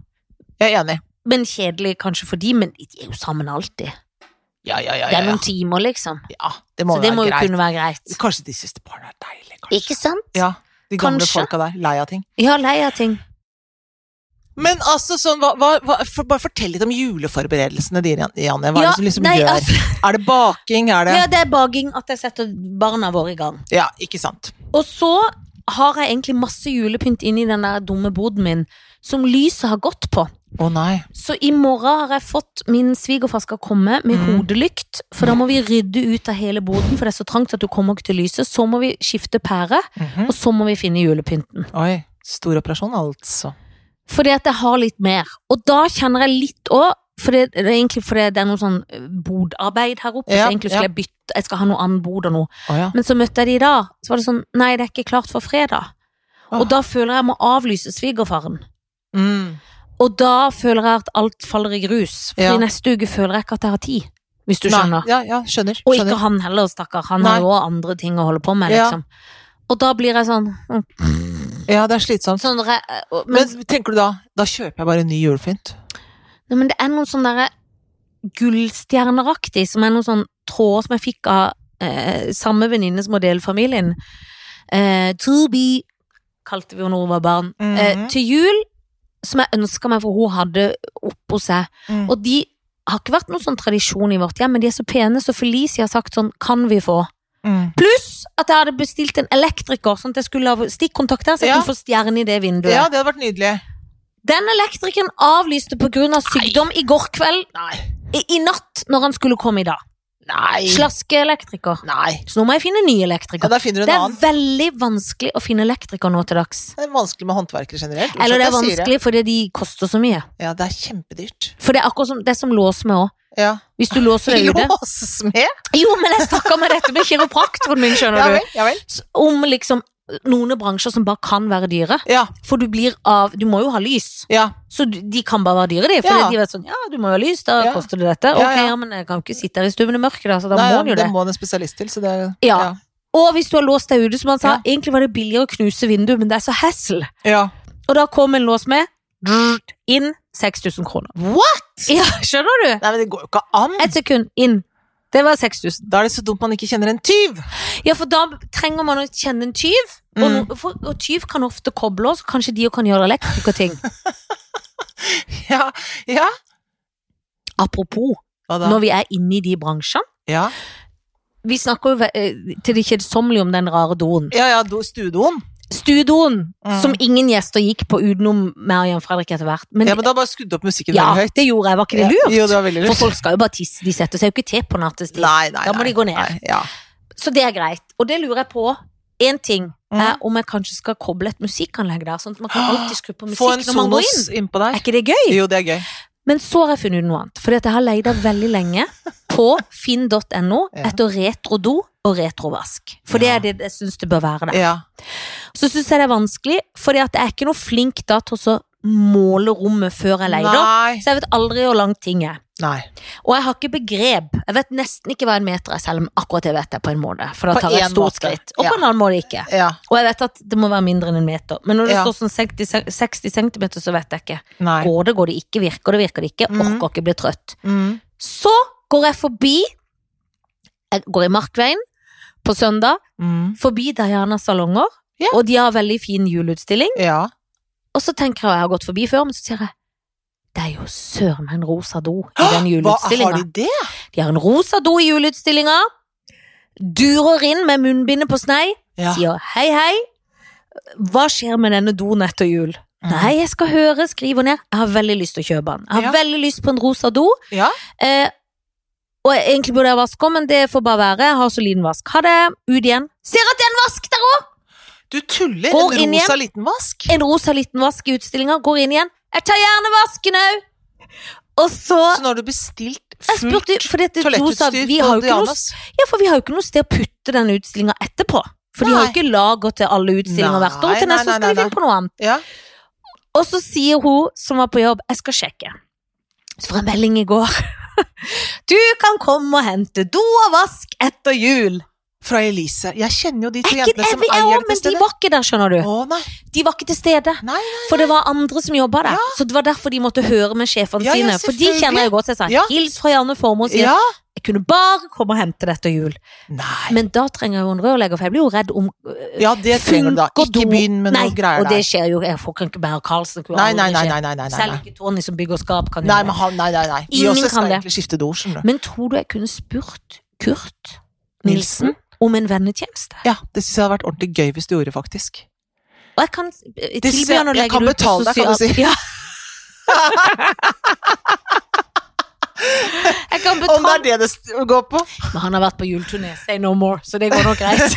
Speaker 2: Jeg er enig.
Speaker 1: Men kjedelig kanskje for de, men de er jo sammen alltid.
Speaker 2: Ja, ja, ja.
Speaker 1: Det
Speaker 2: ja,
Speaker 1: er
Speaker 2: ja.
Speaker 1: noen timer, liksom.
Speaker 2: ja det må,
Speaker 1: Så det må jo
Speaker 2: være greit.
Speaker 1: kunne være greit.
Speaker 2: Kanskje de syns det barna er deilig, kanskje.
Speaker 1: Ikke sant?
Speaker 2: Ja, de gamle
Speaker 1: Kanskje.
Speaker 2: folka der. Lei av ting.
Speaker 1: Ja, lei av ting.
Speaker 2: Men altså, sånn, hva, hva, hva, for, bare fortell litt om juleforberedelsene dine, Janne. Hva
Speaker 1: ja,
Speaker 2: er det som liksom
Speaker 1: nei,
Speaker 2: gjør?
Speaker 1: altså,
Speaker 2: Er det baking? Er det
Speaker 1: ja, det er baging at jeg setter barna våre i gang.
Speaker 2: Ja, ikke sant.
Speaker 1: Og så har jeg egentlig masse julepynt inni den der dumme boden min, som lyset har gått på.
Speaker 2: Å nei.
Speaker 1: Så i morgen har jeg fått min svigerfar skal komme med
Speaker 2: Mm.
Speaker 1: hodelykt, for da må vi rydde ut av hele boden, for det er så trangt at du kommer ikke til lyset. Så må vi skifte pære,
Speaker 2: Mhm.
Speaker 1: og så må vi finne julepynten.
Speaker 2: Oi. Stor operasjon, altså.
Speaker 1: Fordi at jeg har litt mer. Og da kjenner jeg litt òg, for det, det er egentlig fordi det er noe sånn eh, bodarbeid her oppe,
Speaker 2: Ja,
Speaker 1: så egentlig skulle jeg bytte, jeg skal ha noe annet bod og noe.
Speaker 2: Å ja.
Speaker 1: Men så møtte jeg de i dag, så var det sånn, nei, det er ikke klart for fredag. Og da føler jeg jeg må avlyse svigerfaren.
Speaker 2: Mm.
Speaker 1: Og da føler jeg at alt faller i grus. For
Speaker 2: Ja.
Speaker 1: i neste uke føler jeg ikke at jeg har tid. Hvis du
Speaker 2: Nei,
Speaker 1: skjønner.
Speaker 2: Ja, ja, skjønner.
Speaker 1: Og
Speaker 2: skjønner.
Speaker 1: ikke han heller, stakkar. Han
Speaker 2: Nei.
Speaker 1: har jo også andre ting å holde på med,
Speaker 2: Ja.
Speaker 1: liksom. Og da blir jeg sånn, mm,
Speaker 2: Ja, det er slitsomt.
Speaker 1: sånn re- og- men,
Speaker 2: Men tenker du da da kjøper jeg bare en ny julepynt?
Speaker 1: nei, men det er noe sånn derre gullstjerneraktig, som er noen sånn tråder som jeg fikk av eh, samme venninne som var delfamilien. Eh, Truby kalte vi henne når hun var barn. eh,
Speaker 2: Mhm.
Speaker 1: til jul, som jeg ønska meg, for hun hadde oppå seg.
Speaker 2: Mm.
Speaker 1: Og de har ikke vært noen sånn tradisjon i vårt hjem, men de er så pene, så Felicia har sagt sånn Kan vi få?
Speaker 2: Mm.
Speaker 1: Pluss at jeg hadde bestilt en elektriker, sånn at jeg skulle ha stikkontakt der, så jeg
Speaker 2: Ja.
Speaker 1: kunne få stjerne i det vinduet.
Speaker 2: Ja, det hadde vært nydelig.
Speaker 1: Den elektrikeren avlyste pga. Av sykdom i går kveld. I, I natt, når han skulle komme i dag.
Speaker 2: Nei.
Speaker 1: Slaskeelektriker.
Speaker 2: Nei.
Speaker 1: Så nå må jeg finne ny
Speaker 2: Ja,
Speaker 1: elektriker.
Speaker 2: da finner du
Speaker 1: det
Speaker 2: en
Speaker 1: er
Speaker 2: annen.
Speaker 1: veldig vanskelig å finne elektriker nå til dags.
Speaker 2: Det er vanskelig med håndverkere generelt.
Speaker 1: Eller det er
Speaker 2: Unnskyld at jeg sier
Speaker 1: vanskelig fordi de koster så mye.
Speaker 2: Ja, det er kjempedyrt.
Speaker 1: For det er akkurat som det er som lås med òg.
Speaker 2: Ja.
Speaker 1: Hvis du låser deg ute.
Speaker 2: Låssmed?
Speaker 1: Jo, men jeg snakka med dette med kiropraktoren min,
Speaker 2: Ja
Speaker 1: skjønner du.
Speaker 2: vel. Ja vel.
Speaker 1: S- Om liksom noen bransjer som bare kan være dyre.
Speaker 2: Ja.
Speaker 1: For du blir av Du må jo ha lys.
Speaker 2: ja.
Speaker 1: Så du- de kan bare være dyre, de. For
Speaker 2: Ja.
Speaker 1: de vet sånn Ja, du må jo ha lys, da
Speaker 2: Ja.
Speaker 1: koster det dette.
Speaker 2: Ja,
Speaker 1: Ok,
Speaker 2: ja.
Speaker 1: ja, men jeg kan jo ikke sitte her i stuen i mørket, da, så da
Speaker 2: Nei,
Speaker 1: må du jo
Speaker 2: det
Speaker 1: det.
Speaker 2: må en spesialist til, så det er
Speaker 1: Ja. Og hvis du har låst deg ute, som han sa,
Speaker 2: Ja.
Speaker 1: egentlig var det billigere å knuse vinduet, men det er så hassle.
Speaker 2: Ja.
Speaker 1: Og da kom en lås med. Inn 6000 kroner.
Speaker 2: What?!
Speaker 1: Ja, skjønner du?
Speaker 2: Nei, men det går jo ikke an!
Speaker 1: Et sekund inn. Det var 6000.
Speaker 2: Da er det så dumt man ikke kjenner en tyv!
Speaker 1: Ja, for da trenger man å kjenne en tyv. Og,
Speaker 2: Mm.
Speaker 1: no, for, og tyv kan ofte koble oss, kanskje de jo kan gjøre elektrikerting.
Speaker 2: Ja. ja.
Speaker 1: Apropos,
Speaker 2: Hva da?
Speaker 1: når vi er inne i de bransjene.
Speaker 2: Ja, vi...
Speaker 1: Vi snakker jo ve- eh, til det kjedsommelige om den rare doen.
Speaker 2: ja, ja do, stuedoen.
Speaker 1: Stuedoen,
Speaker 2: Mm.
Speaker 1: som ingen gjester gikk på utenom meg og Jan Fredrik etter hvert. Men,
Speaker 2: Ja, men da bare skudde opp musikken
Speaker 1: ja,
Speaker 2: veldig høyt.
Speaker 1: det gjorde jeg, var ikke det
Speaker 2: Ja.
Speaker 1: lurt?
Speaker 2: Jo, det var veldig
Speaker 1: for
Speaker 2: lurt.
Speaker 1: folk skal jo bare tisse, de setter seg jo ikke til på nattestid.
Speaker 2: Nei, nei,
Speaker 1: Da må
Speaker 2: nei.
Speaker 1: de gå ned.
Speaker 2: Nei, ja.
Speaker 1: Så det er greit. Og det lurer jeg på. Én ting
Speaker 2: Mm.
Speaker 1: er om jeg kanskje skal koble et musikkanlegg der, sånn at man kan alltid skru på
Speaker 2: Få en
Speaker 1: musikk når man går inn.
Speaker 2: Sonos innpå der.
Speaker 1: Er ikke det gøy?
Speaker 2: Jo, det er gøy.
Speaker 1: Men så har jeg funnet ut noe annet, fordi at jeg har leid av veldig lenge på finn.no
Speaker 2: Ja.
Speaker 1: etter retrodo og retrovask. For det
Speaker 2: Ja.
Speaker 1: er det jeg syns det bør være der.
Speaker 2: Ja.
Speaker 1: Så syns jeg det er vanskelig, fordi at jeg er ikke noe flink da til å så måle rommet før jeg leier det.
Speaker 2: Nei.
Speaker 1: Så jeg vet aldri hvor langt ting er.
Speaker 2: Nei.
Speaker 1: Og jeg har ikke begrep. Jeg vet nesten ikke hva en meter er, selv om akkurat det vet jeg på en måte. For
Speaker 2: På
Speaker 1: da tar jeg
Speaker 2: en
Speaker 1: et stort
Speaker 2: måte.
Speaker 1: skritt. Og
Speaker 2: Ja.
Speaker 1: på en annen måte ikke.
Speaker 2: Ja.
Speaker 1: Og jeg vet at det må være mindre enn en meter. Men når det
Speaker 2: Ja.
Speaker 1: står sånn 60, 60 cm, så vet jeg ikke.
Speaker 2: Nei.
Speaker 1: Går det, går det ikke. Virker det, virker det ikke.
Speaker 2: Mhm.
Speaker 1: Orker ikke bli trøtt.
Speaker 2: Mm.
Speaker 1: Så går jeg forbi Jeg går i Markveien på søndag,
Speaker 2: Mm.
Speaker 1: forbi Dianas salonger,
Speaker 2: Ja.
Speaker 1: og de har veldig fin juleutstilling.
Speaker 2: Ja.
Speaker 1: Og så tenker jeg, og jeg har gått forbi før, men så sier jeg det er jo søren meg en rosa do i den
Speaker 2: Hva har
Speaker 1: juleutstillinga.
Speaker 2: de det?
Speaker 1: De? har en rosa do i juleutstillinga. Durer inn med munnbindet på snei,
Speaker 2: Ja.
Speaker 1: sier hei, hei. Hva skjer med denne doen etter jul?
Speaker 2: Mm.
Speaker 1: Nei, jeg skal høre, skriver ned. Jeg har veldig lyst til å kjøpe den. Jeg har
Speaker 2: Ja.
Speaker 1: veldig lyst på en rosa do.
Speaker 2: Ja.
Speaker 1: Eh, og jeg- egentlig burde jeg vaske, men det får bare være. Jeg har så liten vask. Ha det. Ut igjen. Ser at det er en vask der òg!
Speaker 2: Du tuller!
Speaker 1: Går
Speaker 2: en
Speaker 1: inn
Speaker 2: rosa liten vask?
Speaker 1: En rosa liten vask i utstillinga. Går inn igjen. Jeg tar gjerne vasken òg! Og så
Speaker 2: Så nå har du bestilt
Speaker 1: Jeg
Speaker 2: fullt
Speaker 1: spurte, for dette, hun sa,
Speaker 2: toalettutstyr
Speaker 1: vi har
Speaker 2: på
Speaker 1: jo ikke noe,
Speaker 2: Dianas?
Speaker 1: ja, for vi har jo ikke noe sted å putte den utstillinga etterpå. For de har jo
Speaker 2: Nei.
Speaker 1: ikke lager til alle utstillinger
Speaker 2: Nei,
Speaker 1: hvert år. Til
Speaker 2: nei,
Speaker 1: neste år
Speaker 2: nei,
Speaker 1: skal de
Speaker 2: nei,
Speaker 1: finne på noe annet.
Speaker 2: Ja.
Speaker 1: Og så sier hun som var på jobb, jeg skal sjekke. Så får jeg melding i går. Du kan komme og hente do og vask etter jul.
Speaker 2: Fra Elise. Jeg kjenner jo de to
Speaker 1: Er ikke
Speaker 2: jentene
Speaker 1: det
Speaker 2: som
Speaker 1: vi er
Speaker 2: eier
Speaker 1: også,
Speaker 2: dette
Speaker 1: men de
Speaker 2: stedet.
Speaker 1: var ikke der, skjønner du.
Speaker 2: Å, nei.
Speaker 1: De var ikke til stede.
Speaker 2: Nei, nei.
Speaker 1: For det var andre som jobba der. Så det var derfor de måtte høre med sjefene
Speaker 2: Ja, ja,
Speaker 1: sine. For de
Speaker 2: selvfølgelig.
Speaker 1: kjenner jeg jo godt. Så jeg sa
Speaker 2: Ja.
Speaker 1: hils fra Janne Formoe og sier
Speaker 2: Ja.
Speaker 1: jeg kunne bare komme og hente det etter jul.
Speaker 2: Nei.
Speaker 1: Men da trenger jeg jo en rørlegger, for jeg blir jo redd om øh,
Speaker 2: Ja, det trenger du da.
Speaker 1: funker
Speaker 2: Ikke
Speaker 1: do-
Speaker 2: begynn med
Speaker 1: Nei,
Speaker 2: noe greier
Speaker 1: og det
Speaker 2: der.
Speaker 1: skjer jo. Jeg får ikke bære Karlsen. det kunne
Speaker 2: Nei,
Speaker 1: aldri
Speaker 2: nei, nei,
Speaker 1: skje.
Speaker 2: nei, nei, nei, nei.
Speaker 1: Selv ikke Tony som bygger skap, kan
Speaker 2: Nei,
Speaker 1: gjøre det.
Speaker 2: men han, nei, nei, nei. Vi
Speaker 1: Ingen
Speaker 2: også
Speaker 1: kan
Speaker 2: skal
Speaker 1: det.
Speaker 2: egentlig skifte do, skjønner du.
Speaker 1: Men tror du jeg kunne spurt Kurt Nilsen
Speaker 2: Nilsen?
Speaker 1: om en vennetjeneste?
Speaker 2: Ja, det syns jeg hadde vært ordentlig gøy hvis du gjorde, faktisk.
Speaker 1: Og jeg kan eh,
Speaker 2: Det synes
Speaker 1: tilby
Speaker 2: jeg-
Speaker 1: han å
Speaker 2: jeg
Speaker 1: legge
Speaker 2: kan
Speaker 1: det ut på
Speaker 2: betale deg, kan du
Speaker 1: sosial-
Speaker 2: si.
Speaker 1: Ja. jeg kan
Speaker 2: Om det
Speaker 1: betale
Speaker 2: er det det st- går på?
Speaker 1: Men han har vært på juleturné, say no more, så det går nok greit.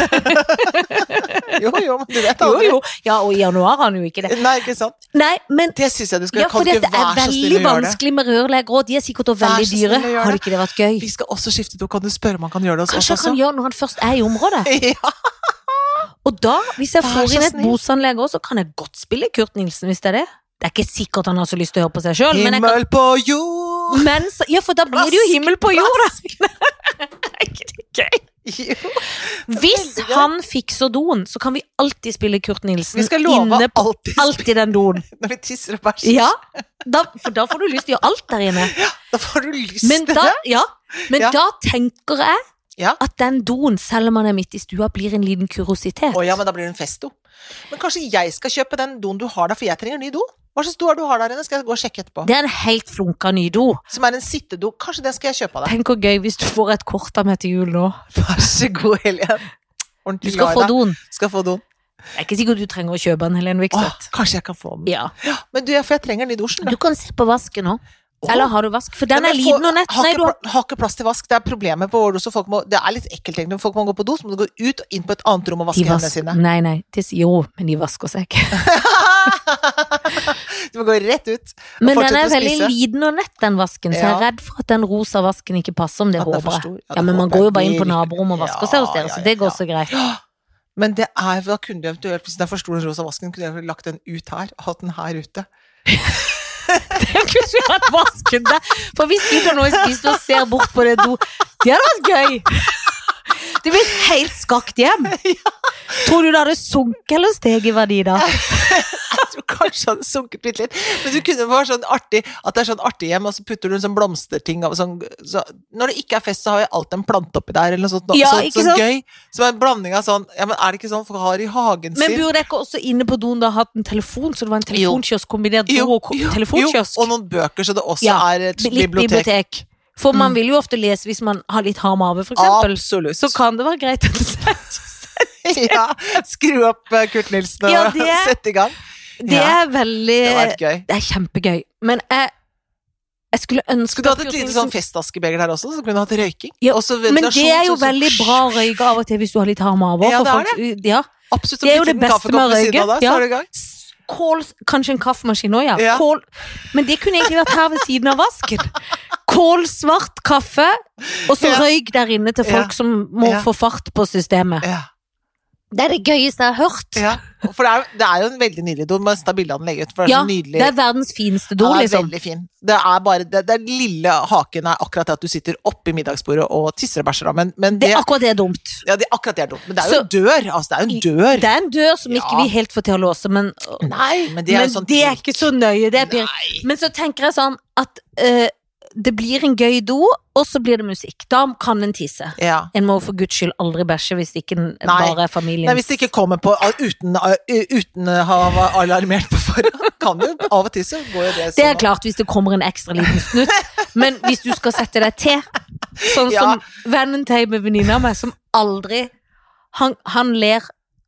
Speaker 2: Jo, jo, men du vet
Speaker 1: jo,
Speaker 2: aldri.
Speaker 1: jo. Ja, og i januar har han jo ikke det.
Speaker 2: Nei, ikke sant.
Speaker 1: Nei, men
Speaker 2: Det syns jeg du skal
Speaker 1: ja,
Speaker 2: Kan
Speaker 1: for
Speaker 2: du
Speaker 1: det
Speaker 2: ikke
Speaker 1: er
Speaker 2: være så
Speaker 1: veldig
Speaker 2: snill å gjøre det?
Speaker 1: vanskelig med rørleggere, og de er sikkert også
Speaker 2: Vær så
Speaker 1: veldig
Speaker 2: snill
Speaker 1: dyre.
Speaker 2: å gjøre
Speaker 1: Har
Speaker 2: det.
Speaker 1: ikke det vært gøy?
Speaker 2: Vi skal også skifte do. Kan du spørre om han kan gjøre det hos oss
Speaker 1: Kanskje han
Speaker 2: også?
Speaker 1: kan gjøre når han først er i området?
Speaker 2: Ja.
Speaker 1: Og da, hvis jeg
Speaker 2: Vær
Speaker 1: får
Speaker 2: så
Speaker 1: inn et
Speaker 2: snill.
Speaker 1: Bosan-lege også, så kan jeg godt spille Kurt Nilsen, hvis det er det. Det er ikke sikkert han har så lyst til å høre på seg sjøl, men jeg kan
Speaker 2: Himmel på jord!
Speaker 1: men, så- Ja, for da blir det jo
Speaker 2: Plask,
Speaker 1: himmel på jord, da! Er ikke det gøy?
Speaker 2: Jo.
Speaker 1: Hvis
Speaker 2: Veldig gøy.
Speaker 1: han fikser doen, så kan vi alltid spille Kurt Nilsen
Speaker 2: Vi skal love
Speaker 1: inne på
Speaker 2: alltid
Speaker 1: alltid den doen.
Speaker 2: når vi tisser og bæsjer.
Speaker 1: Ja, da, for da får du lyst til å gjøre alt der inne.
Speaker 2: Da får du lyst
Speaker 1: Men
Speaker 2: til
Speaker 1: da,
Speaker 2: det.
Speaker 1: ja, men
Speaker 2: Ja.
Speaker 1: da tenker jeg
Speaker 2: Ja.
Speaker 1: at den doen, selv om man er midt i stua, blir en liten kuriositet.
Speaker 2: Å ja, men da blir det en festo. Men kanskje jeg skal kjøpe den doen du har der, for jeg trenger en ny do. Hva slags do er det du har der inne? Skal jeg gå og sjekke etterpå.
Speaker 1: Det er en helt flunka ny do.
Speaker 2: Som er en sittedo. Kanskje den skal jeg kjøpe av deg.
Speaker 1: Tenk hvor gøy hvis du får et kort av meg til jul nå.
Speaker 2: Vær så god, Helen.
Speaker 1: Du
Speaker 2: Ordentlig
Speaker 1: skal
Speaker 2: glad i
Speaker 1: få
Speaker 2: deg.
Speaker 1: doen.
Speaker 2: Skal få doen.
Speaker 1: Det er ikke sikkert du trenger å kjøpe den, Helene
Speaker 2: Åh,
Speaker 1: Vikstvedt.
Speaker 2: kanskje jeg kan få den.
Speaker 1: Ja.
Speaker 2: Men du, jeg- for jeg trenger en ny dusj.
Speaker 1: Du kan se på vasken nå.
Speaker 2: Åh.
Speaker 1: Eller har du vask? For den
Speaker 2: Men
Speaker 1: er
Speaker 2: jeg får-
Speaker 1: liten og nett.
Speaker 2: Har
Speaker 1: Nei,
Speaker 2: ikke,
Speaker 1: du har
Speaker 2: pla- har ikke plass til vask. Det er problemet på Årdus. og Folk må, det er litt ekkelt egentlig. Folk må gå på do, så må du gå ut og inn på et annet rom og
Speaker 1: de
Speaker 2: vaske hendene
Speaker 1: vas-
Speaker 2: sine.
Speaker 1: Nei, nei. De, s- jo, men de vasker seg ikke.
Speaker 2: du må gå rett ut.
Speaker 1: Men
Speaker 2: fortsette
Speaker 1: den er
Speaker 2: å
Speaker 1: veldig
Speaker 2: spise.
Speaker 1: liten og nett, den vasken, så jeg er
Speaker 2: Ja.
Speaker 1: redd for at den rosa vasken ikke passer, om det
Speaker 2: At den er for
Speaker 1: håper jeg.
Speaker 2: stor. Ja,
Speaker 1: Ja,
Speaker 2: det
Speaker 1: men man
Speaker 2: håper jeg
Speaker 1: går jo bare inn på
Speaker 2: virkelig.
Speaker 1: naborommet og vasker seg hos
Speaker 2: Ja,
Speaker 1: dere, så
Speaker 2: ja,
Speaker 1: det går
Speaker 2: ja.
Speaker 1: så greit.
Speaker 2: Men det er, da kunne du eventuelt, hvis den er for stor den rosa vasken, kunne jeg lagt den ut her, og hatt den her ute.
Speaker 1: Jeg kunne ikke hatt vasken der, for vi sitter nå i spisestuen og ser bort på det do. Det hadde vært gøy! Det blir et helt skakt hjem. Tror du det hadde sunket eller steget i verdi da?
Speaker 2: Jeg tror kanskje den sunket bitte litt. Men du kunne vært sånn artig at det er sånn artig hjem, og så putter du en sånn blomsterting av sånn så, Når det ikke er fest, så har jeg alltid en plante oppi der, eller noe sånt. nå.
Speaker 1: Ja,
Speaker 2: så,
Speaker 1: ikke
Speaker 2: sånn
Speaker 1: sant?
Speaker 2: gøy. Som er en blanding av sånn Ja, men er det ikke sånn folk har i hagen
Speaker 1: Men
Speaker 2: sin?
Speaker 1: burde dere også inne på doen da hatt en telefon, så det var en telefonkiosk kombinert do og ko- telefonkiosk?
Speaker 2: Jo, og noen bøker, så det også
Speaker 1: Ja,
Speaker 2: er et
Speaker 1: Litt bibliotek.
Speaker 2: bibliotek. Mm.
Speaker 1: For man vil jo ofte lese hvis man har litt hard mage, for eksempel.
Speaker 2: Absolutt.
Speaker 1: Så kan det være greit at det
Speaker 2: ja, skru opp eh, Kurt Nilsen og
Speaker 1: Ja, det-
Speaker 2: sett i gang.
Speaker 1: Det
Speaker 2: Ja.
Speaker 1: er veldig
Speaker 2: Det hadde vært gøy.
Speaker 1: Det er kjempegøy. Men jeg, jeg skulle ønske
Speaker 2: Skulle du hatt
Speaker 1: at
Speaker 2: et
Speaker 1: Kurt
Speaker 2: lite
Speaker 1: Nilsen-
Speaker 2: sånn festaskebeger der også, så kunne du hatt røyking?
Speaker 1: liksom Ja,
Speaker 2: Og så
Speaker 1: Men det
Speaker 2: ventilasjon,
Speaker 1: er jo
Speaker 2: så-
Speaker 1: veldig bra å røyke av og til hvis du har litt hard mage.
Speaker 2: sånn Ja,
Speaker 1: for
Speaker 2: det er
Speaker 1: folk- ja.
Speaker 2: Absolutt.
Speaker 1: Det er jo det beste med å røyke. Ja.
Speaker 2: Ja. Er du i gang.
Speaker 1: Kål Kanskje en kaffemaskin òg, ja.
Speaker 2: Ja.
Speaker 1: Kål, men det kunne egentlig vært her ved siden av vasken. Kålsvart kaffe, og så
Speaker 2: Ja.
Speaker 1: røyk der inne til folk som må
Speaker 2: Ja.
Speaker 1: få fart på systemet.
Speaker 2: Ja.
Speaker 1: Det er det gøyeste jeg har hørt.
Speaker 2: Ja, for det er, jo- det er jo en veldig nydelig do. Man tar bilde av den legger ut, for det er
Speaker 1: Ja,
Speaker 2: så nydelig.
Speaker 1: Det er verdens fineste do,
Speaker 2: Den er
Speaker 1: liksom.
Speaker 2: veldig fin. Det er bare, det, den lille haken er akkurat det at du sitter oppi middagsbordet og tisser og bæsjer, da. Men, men
Speaker 1: Det,
Speaker 2: det,
Speaker 1: akkurat det er dumt.
Speaker 2: ja, det, akkurat det er dumt. Men det er jo
Speaker 1: Så-
Speaker 2: en dør. Altså, det er jo en dør.
Speaker 1: Det er en dør som ikke
Speaker 2: Ja.
Speaker 1: vi helt får til å låse, men
Speaker 2: Nei, men det er
Speaker 1: men
Speaker 2: jo sånn
Speaker 1: det er ikke så nøye. Det er Birk.
Speaker 2: Nei.
Speaker 1: Men så tenker jeg sånn at eh, det blir en gøy do, og så blir det musikk. Da kan en tisse.
Speaker 2: Ja.
Speaker 1: En må for guds skyld aldri bæsje hvis det ikke bare er familiens
Speaker 2: Nei, hvis det ikke kommer på ah, uten, uten å ha alarmert på forhånd. Kan jo av og til så går jo det sånn.
Speaker 1: Det er
Speaker 2: at-
Speaker 1: klart hvis det kommer en ekstra liten snutt, men hvis du skal sette deg til, sånn
Speaker 2: Ja.
Speaker 1: som vennen til med venninna mi, som aldri han, han, ler,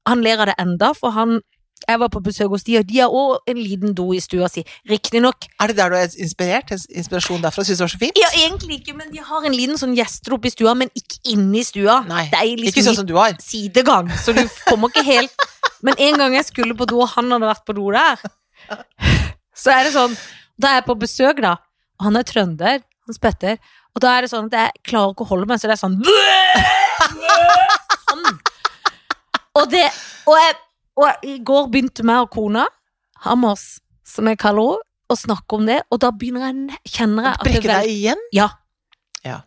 Speaker 1: han ler av det enda, for han jeg var på besøk hos de, og de har òg en liten do i stua si. Riktignok
Speaker 2: Er det der du er inspirert? Inspirasjon derfra? Syns du det var så fint?
Speaker 1: Ja, egentlig ikke, men de har en liten sånn gjester oppe i stua, men ikke inne i stua.
Speaker 2: Nei,
Speaker 1: det er
Speaker 2: Ikke
Speaker 1: liksom
Speaker 2: sånn som du har.
Speaker 1: litt sidegang, så du kommer ikke helt Men en gang jeg skulle på do, og han hadde vært på do der, så er det sånn Da er jeg på besøk, da, og han er trønder, han spytter, og da er det sånn at jeg klarer ikke å holde meg, så det er sånn Sånn. Og det Og, jeg, og jeg, i går begynte meg og kona, Hammers, som jeg kaller henne, å snakke om det, og da begynner jeg, ne- kjenner jeg at det
Speaker 2: Brekke
Speaker 1: vel-
Speaker 2: deg igjen?
Speaker 1: ja.
Speaker 2: Ja.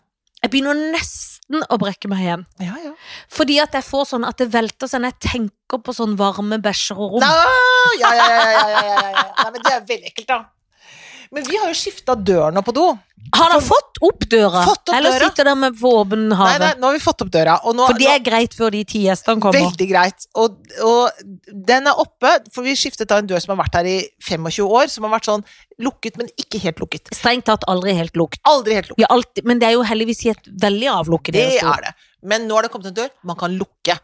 Speaker 1: Jeg begynner nesten å brekke meg igjen.
Speaker 2: Ja, ja.
Speaker 1: Fordi at jeg får sånn at det velter seg når jeg tenker på sånn varme bæsjer og rom.
Speaker 2: Nei, ja, ja, ja, ja, ja, ja, ja. Nei, men det er veldig ekkelt, da. Men vi har jo skifta dør nå på do.
Speaker 1: Har han fått opp døra?
Speaker 2: Fått opp
Speaker 1: Eller
Speaker 2: døra?
Speaker 1: sitter der med våpen
Speaker 2: Nei, nei,
Speaker 1: hage?
Speaker 2: nå har vi fått opp døra. Og nå,
Speaker 1: For det er greit før de ti gjestene
Speaker 2: nå,
Speaker 1: kommer.
Speaker 2: veldig greit. Og, og den er oppe, for vi skiftet da en dør som har vært her i 25 år, som har vært sånn lukket, men ikke helt lukket.
Speaker 1: Strengt tatt aldri helt lukt.
Speaker 2: Aldri helt lukket.
Speaker 1: Vi har alltid, men det er jo heldigvis i et veldig avlukket
Speaker 2: Det
Speaker 1: deres
Speaker 2: er det. Men nå har det kommet en dør man kan lukke.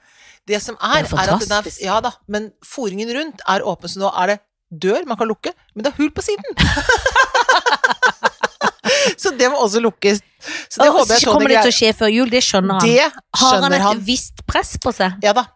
Speaker 2: Det som er,
Speaker 1: Det
Speaker 2: det
Speaker 1: er
Speaker 2: er, at den er
Speaker 1: fantastisk.
Speaker 2: Ja da, men foringen rundt er åpen, så nå er det dør man kan lukke, men det er hull på siden. så det må også lukkes. Så det
Speaker 1: Og
Speaker 2: håper jeg
Speaker 1: så kommer
Speaker 2: Tony
Speaker 1: det til å
Speaker 2: greier.
Speaker 1: skje før jul, det skjønner han.
Speaker 2: Det
Speaker 1: Har han
Speaker 2: skjønner
Speaker 1: et
Speaker 2: han.
Speaker 1: visst press på seg?
Speaker 2: Ja da.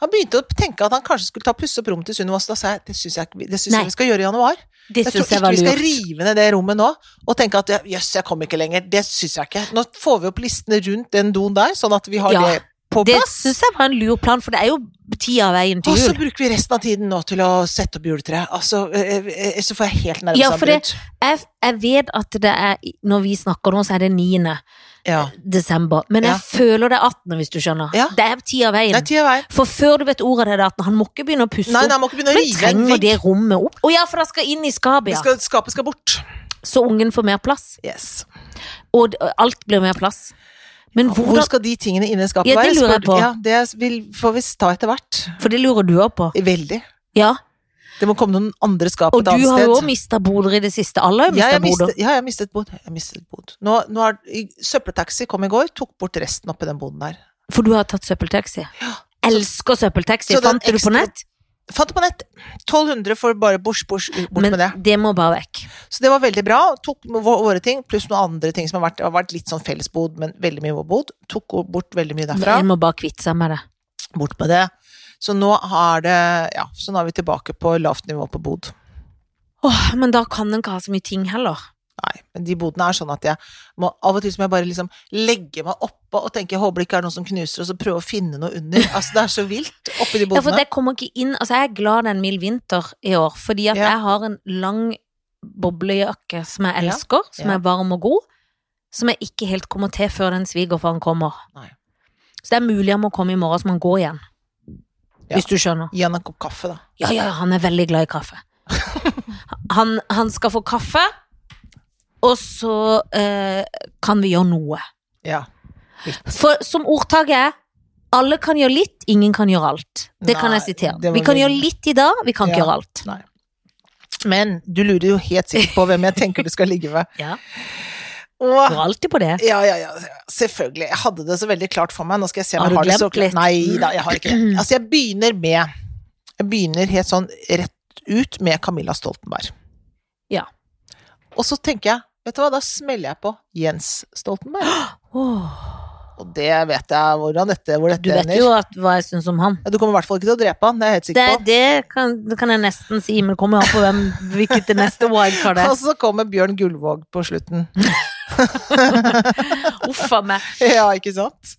Speaker 2: Han begynte å tenke at han kanskje skulle ta pusse opp rommet til Sunniva, så da sa jeg det syns jeg, ikke vi- det syns
Speaker 1: Nei.
Speaker 2: jeg vi skal gjøre i januar.
Speaker 1: Det
Speaker 2: Jeg tror
Speaker 1: syns jeg
Speaker 2: ikke
Speaker 1: var
Speaker 2: vi skal
Speaker 1: lurt.
Speaker 2: rive ned det rommet nå og tenke at jøss, jeg kom ikke lenger. Det syns jeg ikke. Nå får vi opp listene rundt den doen der, sånn at vi har
Speaker 1: Ja.
Speaker 2: det på
Speaker 1: Det
Speaker 2: plass.
Speaker 1: syns jeg var en lur plan, for det er jo tida av veien
Speaker 2: Og
Speaker 1: til
Speaker 2: så
Speaker 1: jul.
Speaker 2: bruker vi resten av tiden nå til å sette opp juletreet. Altså, eh, eh, så får jeg helt
Speaker 1: Ja, for det-
Speaker 2: nervesavbrudd.
Speaker 1: Jeg, jeg vet at det er, når vi snakker nå, så er det 9.
Speaker 2: Ja,
Speaker 1: desember, men
Speaker 2: Ja.
Speaker 1: jeg føler det er 18, hvis du skjønner.
Speaker 2: Ja.
Speaker 1: Det er tida av
Speaker 2: det
Speaker 1: veien.
Speaker 2: er tida vei.
Speaker 1: For før du vet ordet av det, er 18. Han må ikke begynne å pusse
Speaker 2: Nei, nei,
Speaker 1: opp.
Speaker 2: må ikke begynne å
Speaker 1: Men
Speaker 2: rive en
Speaker 1: trenger
Speaker 2: vegg.
Speaker 1: det rommet opp? Å ja, for det skal inn i skapet,
Speaker 2: Det
Speaker 1: ja.
Speaker 2: skal, skapet skal bort.
Speaker 1: Så ungen får mer plass.
Speaker 2: Yes.
Speaker 1: Og d- alt blir mer plass. Men
Speaker 2: Hvor
Speaker 1: hvordan
Speaker 2: skal de tingene inni skapet
Speaker 1: Ja,
Speaker 2: være?
Speaker 1: det lurer jeg
Speaker 2: spør du-
Speaker 1: på.
Speaker 2: Ja, det vil, får vi ta etter hvert.
Speaker 1: For det lurer du òg på.
Speaker 2: Veldig.
Speaker 1: Ja.
Speaker 2: Det må komme noen andre skap
Speaker 1: Og
Speaker 2: et
Speaker 1: du
Speaker 2: annet
Speaker 1: har
Speaker 2: sted.
Speaker 1: jo òg mista boder i det siste. Alle har
Speaker 2: ja,
Speaker 1: mista
Speaker 2: jeg
Speaker 1: boder.
Speaker 2: mistet, ja, jeg har mistet bod. Jeg har mistet bod. Nå, nå har, i- søppeltaxi kom i går, tok bort resten oppi den boden der.
Speaker 1: For du har tatt søppeltaxi. Elsker søppeltaxi.
Speaker 2: Så det er
Speaker 1: Fant du det på
Speaker 2: ekstra-
Speaker 1: nett?
Speaker 2: Fant det på nett. 1200 for bare bors, bors, bort
Speaker 1: Men
Speaker 2: med det.
Speaker 1: det må bare vekk.
Speaker 2: Så det var veldig bra. Tok med vå- våre ting, pluss noen andre ting som har vært, har vært litt sånn fellesbod, men veldig mye vår bod. Tok bort veldig mye derfra.
Speaker 1: En må bare kvitte seg med det.
Speaker 2: Bort med det. Så nå har det Ja, så nå er vi tilbake på lavt nivå på bod.
Speaker 1: Åh, men da kan en ikke ha så mye ting heller.
Speaker 2: Nei, men de bodene er sånn at jeg må av og til så må jeg bare liksom legge meg oppå og tenke jeg håper det ikke er noen som knuser, og så prøve å finne noe under. Altså det er så vilt oppi de
Speaker 1: Ja, for
Speaker 2: bodene.
Speaker 1: det kommer ikke inn Altså, jeg er glad det er en mild vinter i år, fordi at
Speaker 2: Ja.
Speaker 1: jeg har en lang boblejakke som jeg
Speaker 2: Ja.
Speaker 1: elsker, som
Speaker 2: Ja.
Speaker 1: er varm og god, som jeg ikke helt kommer til før den svigerfaren kommer.
Speaker 2: Nei.
Speaker 1: Så det er mulig han må komme i morgen, så må han gå igjen.
Speaker 2: Ja.
Speaker 1: Hvis du skjønner.
Speaker 2: Gi han en kopp kaffe, da.
Speaker 1: Ja, ja, han er veldig glad i kaffe. Han, han skal få kaffe, og så eh, kan vi gjøre noe.
Speaker 2: Ja.
Speaker 1: For som ordtaket er alle kan gjøre litt, ingen kan gjøre alt. Det kan
Speaker 2: Nei,
Speaker 1: jeg sitere.
Speaker 2: det var
Speaker 1: Vi kan
Speaker 2: veldig-
Speaker 1: gjøre litt i dag, vi kan ikke
Speaker 2: Ja.
Speaker 1: gjøre alt.
Speaker 2: Nei. Men du lurer jo helt sikkert på hvem jeg tenker du skal ligge med.
Speaker 1: Ja,
Speaker 2: Og
Speaker 1: går alltid på det.
Speaker 2: ja, ja, ja, selvfølgelig. Jeg hadde det så veldig klart for meg. Nå skal jeg se om
Speaker 1: Har
Speaker 2: jeg
Speaker 1: du
Speaker 2: har det så
Speaker 1: glemt litt?
Speaker 2: klart. Nei da, jeg har ikke det. Altså, jeg begynner med Jeg begynner helt sånn rett ut med Camilla Stoltenberg.
Speaker 1: Ja.
Speaker 2: Og så tenker jeg, vet du hva, da smeller jeg på Jens Stoltenberg.
Speaker 1: Åh,
Speaker 2: Og det vet jeg hvordan dette, hvor
Speaker 1: du
Speaker 2: dette
Speaker 1: vet
Speaker 2: ender.
Speaker 1: jo at, hva jeg syns om han.
Speaker 2: Ja, du kommer i hvert fall ikke til å drepe han, det er jeg helt
Speaker 1: Det,
Speaker 2: sikker på.
Speaker 1: det, kan, det kan jeg nesten si, men det kommer an på hvem, hvilket det neste wildcard er.
Speaker 2: Og så kommer Bjørn Gullvåg på slutten.
Speaker 1: Uff a meg.
Speaker 2: Ja, ikke sant?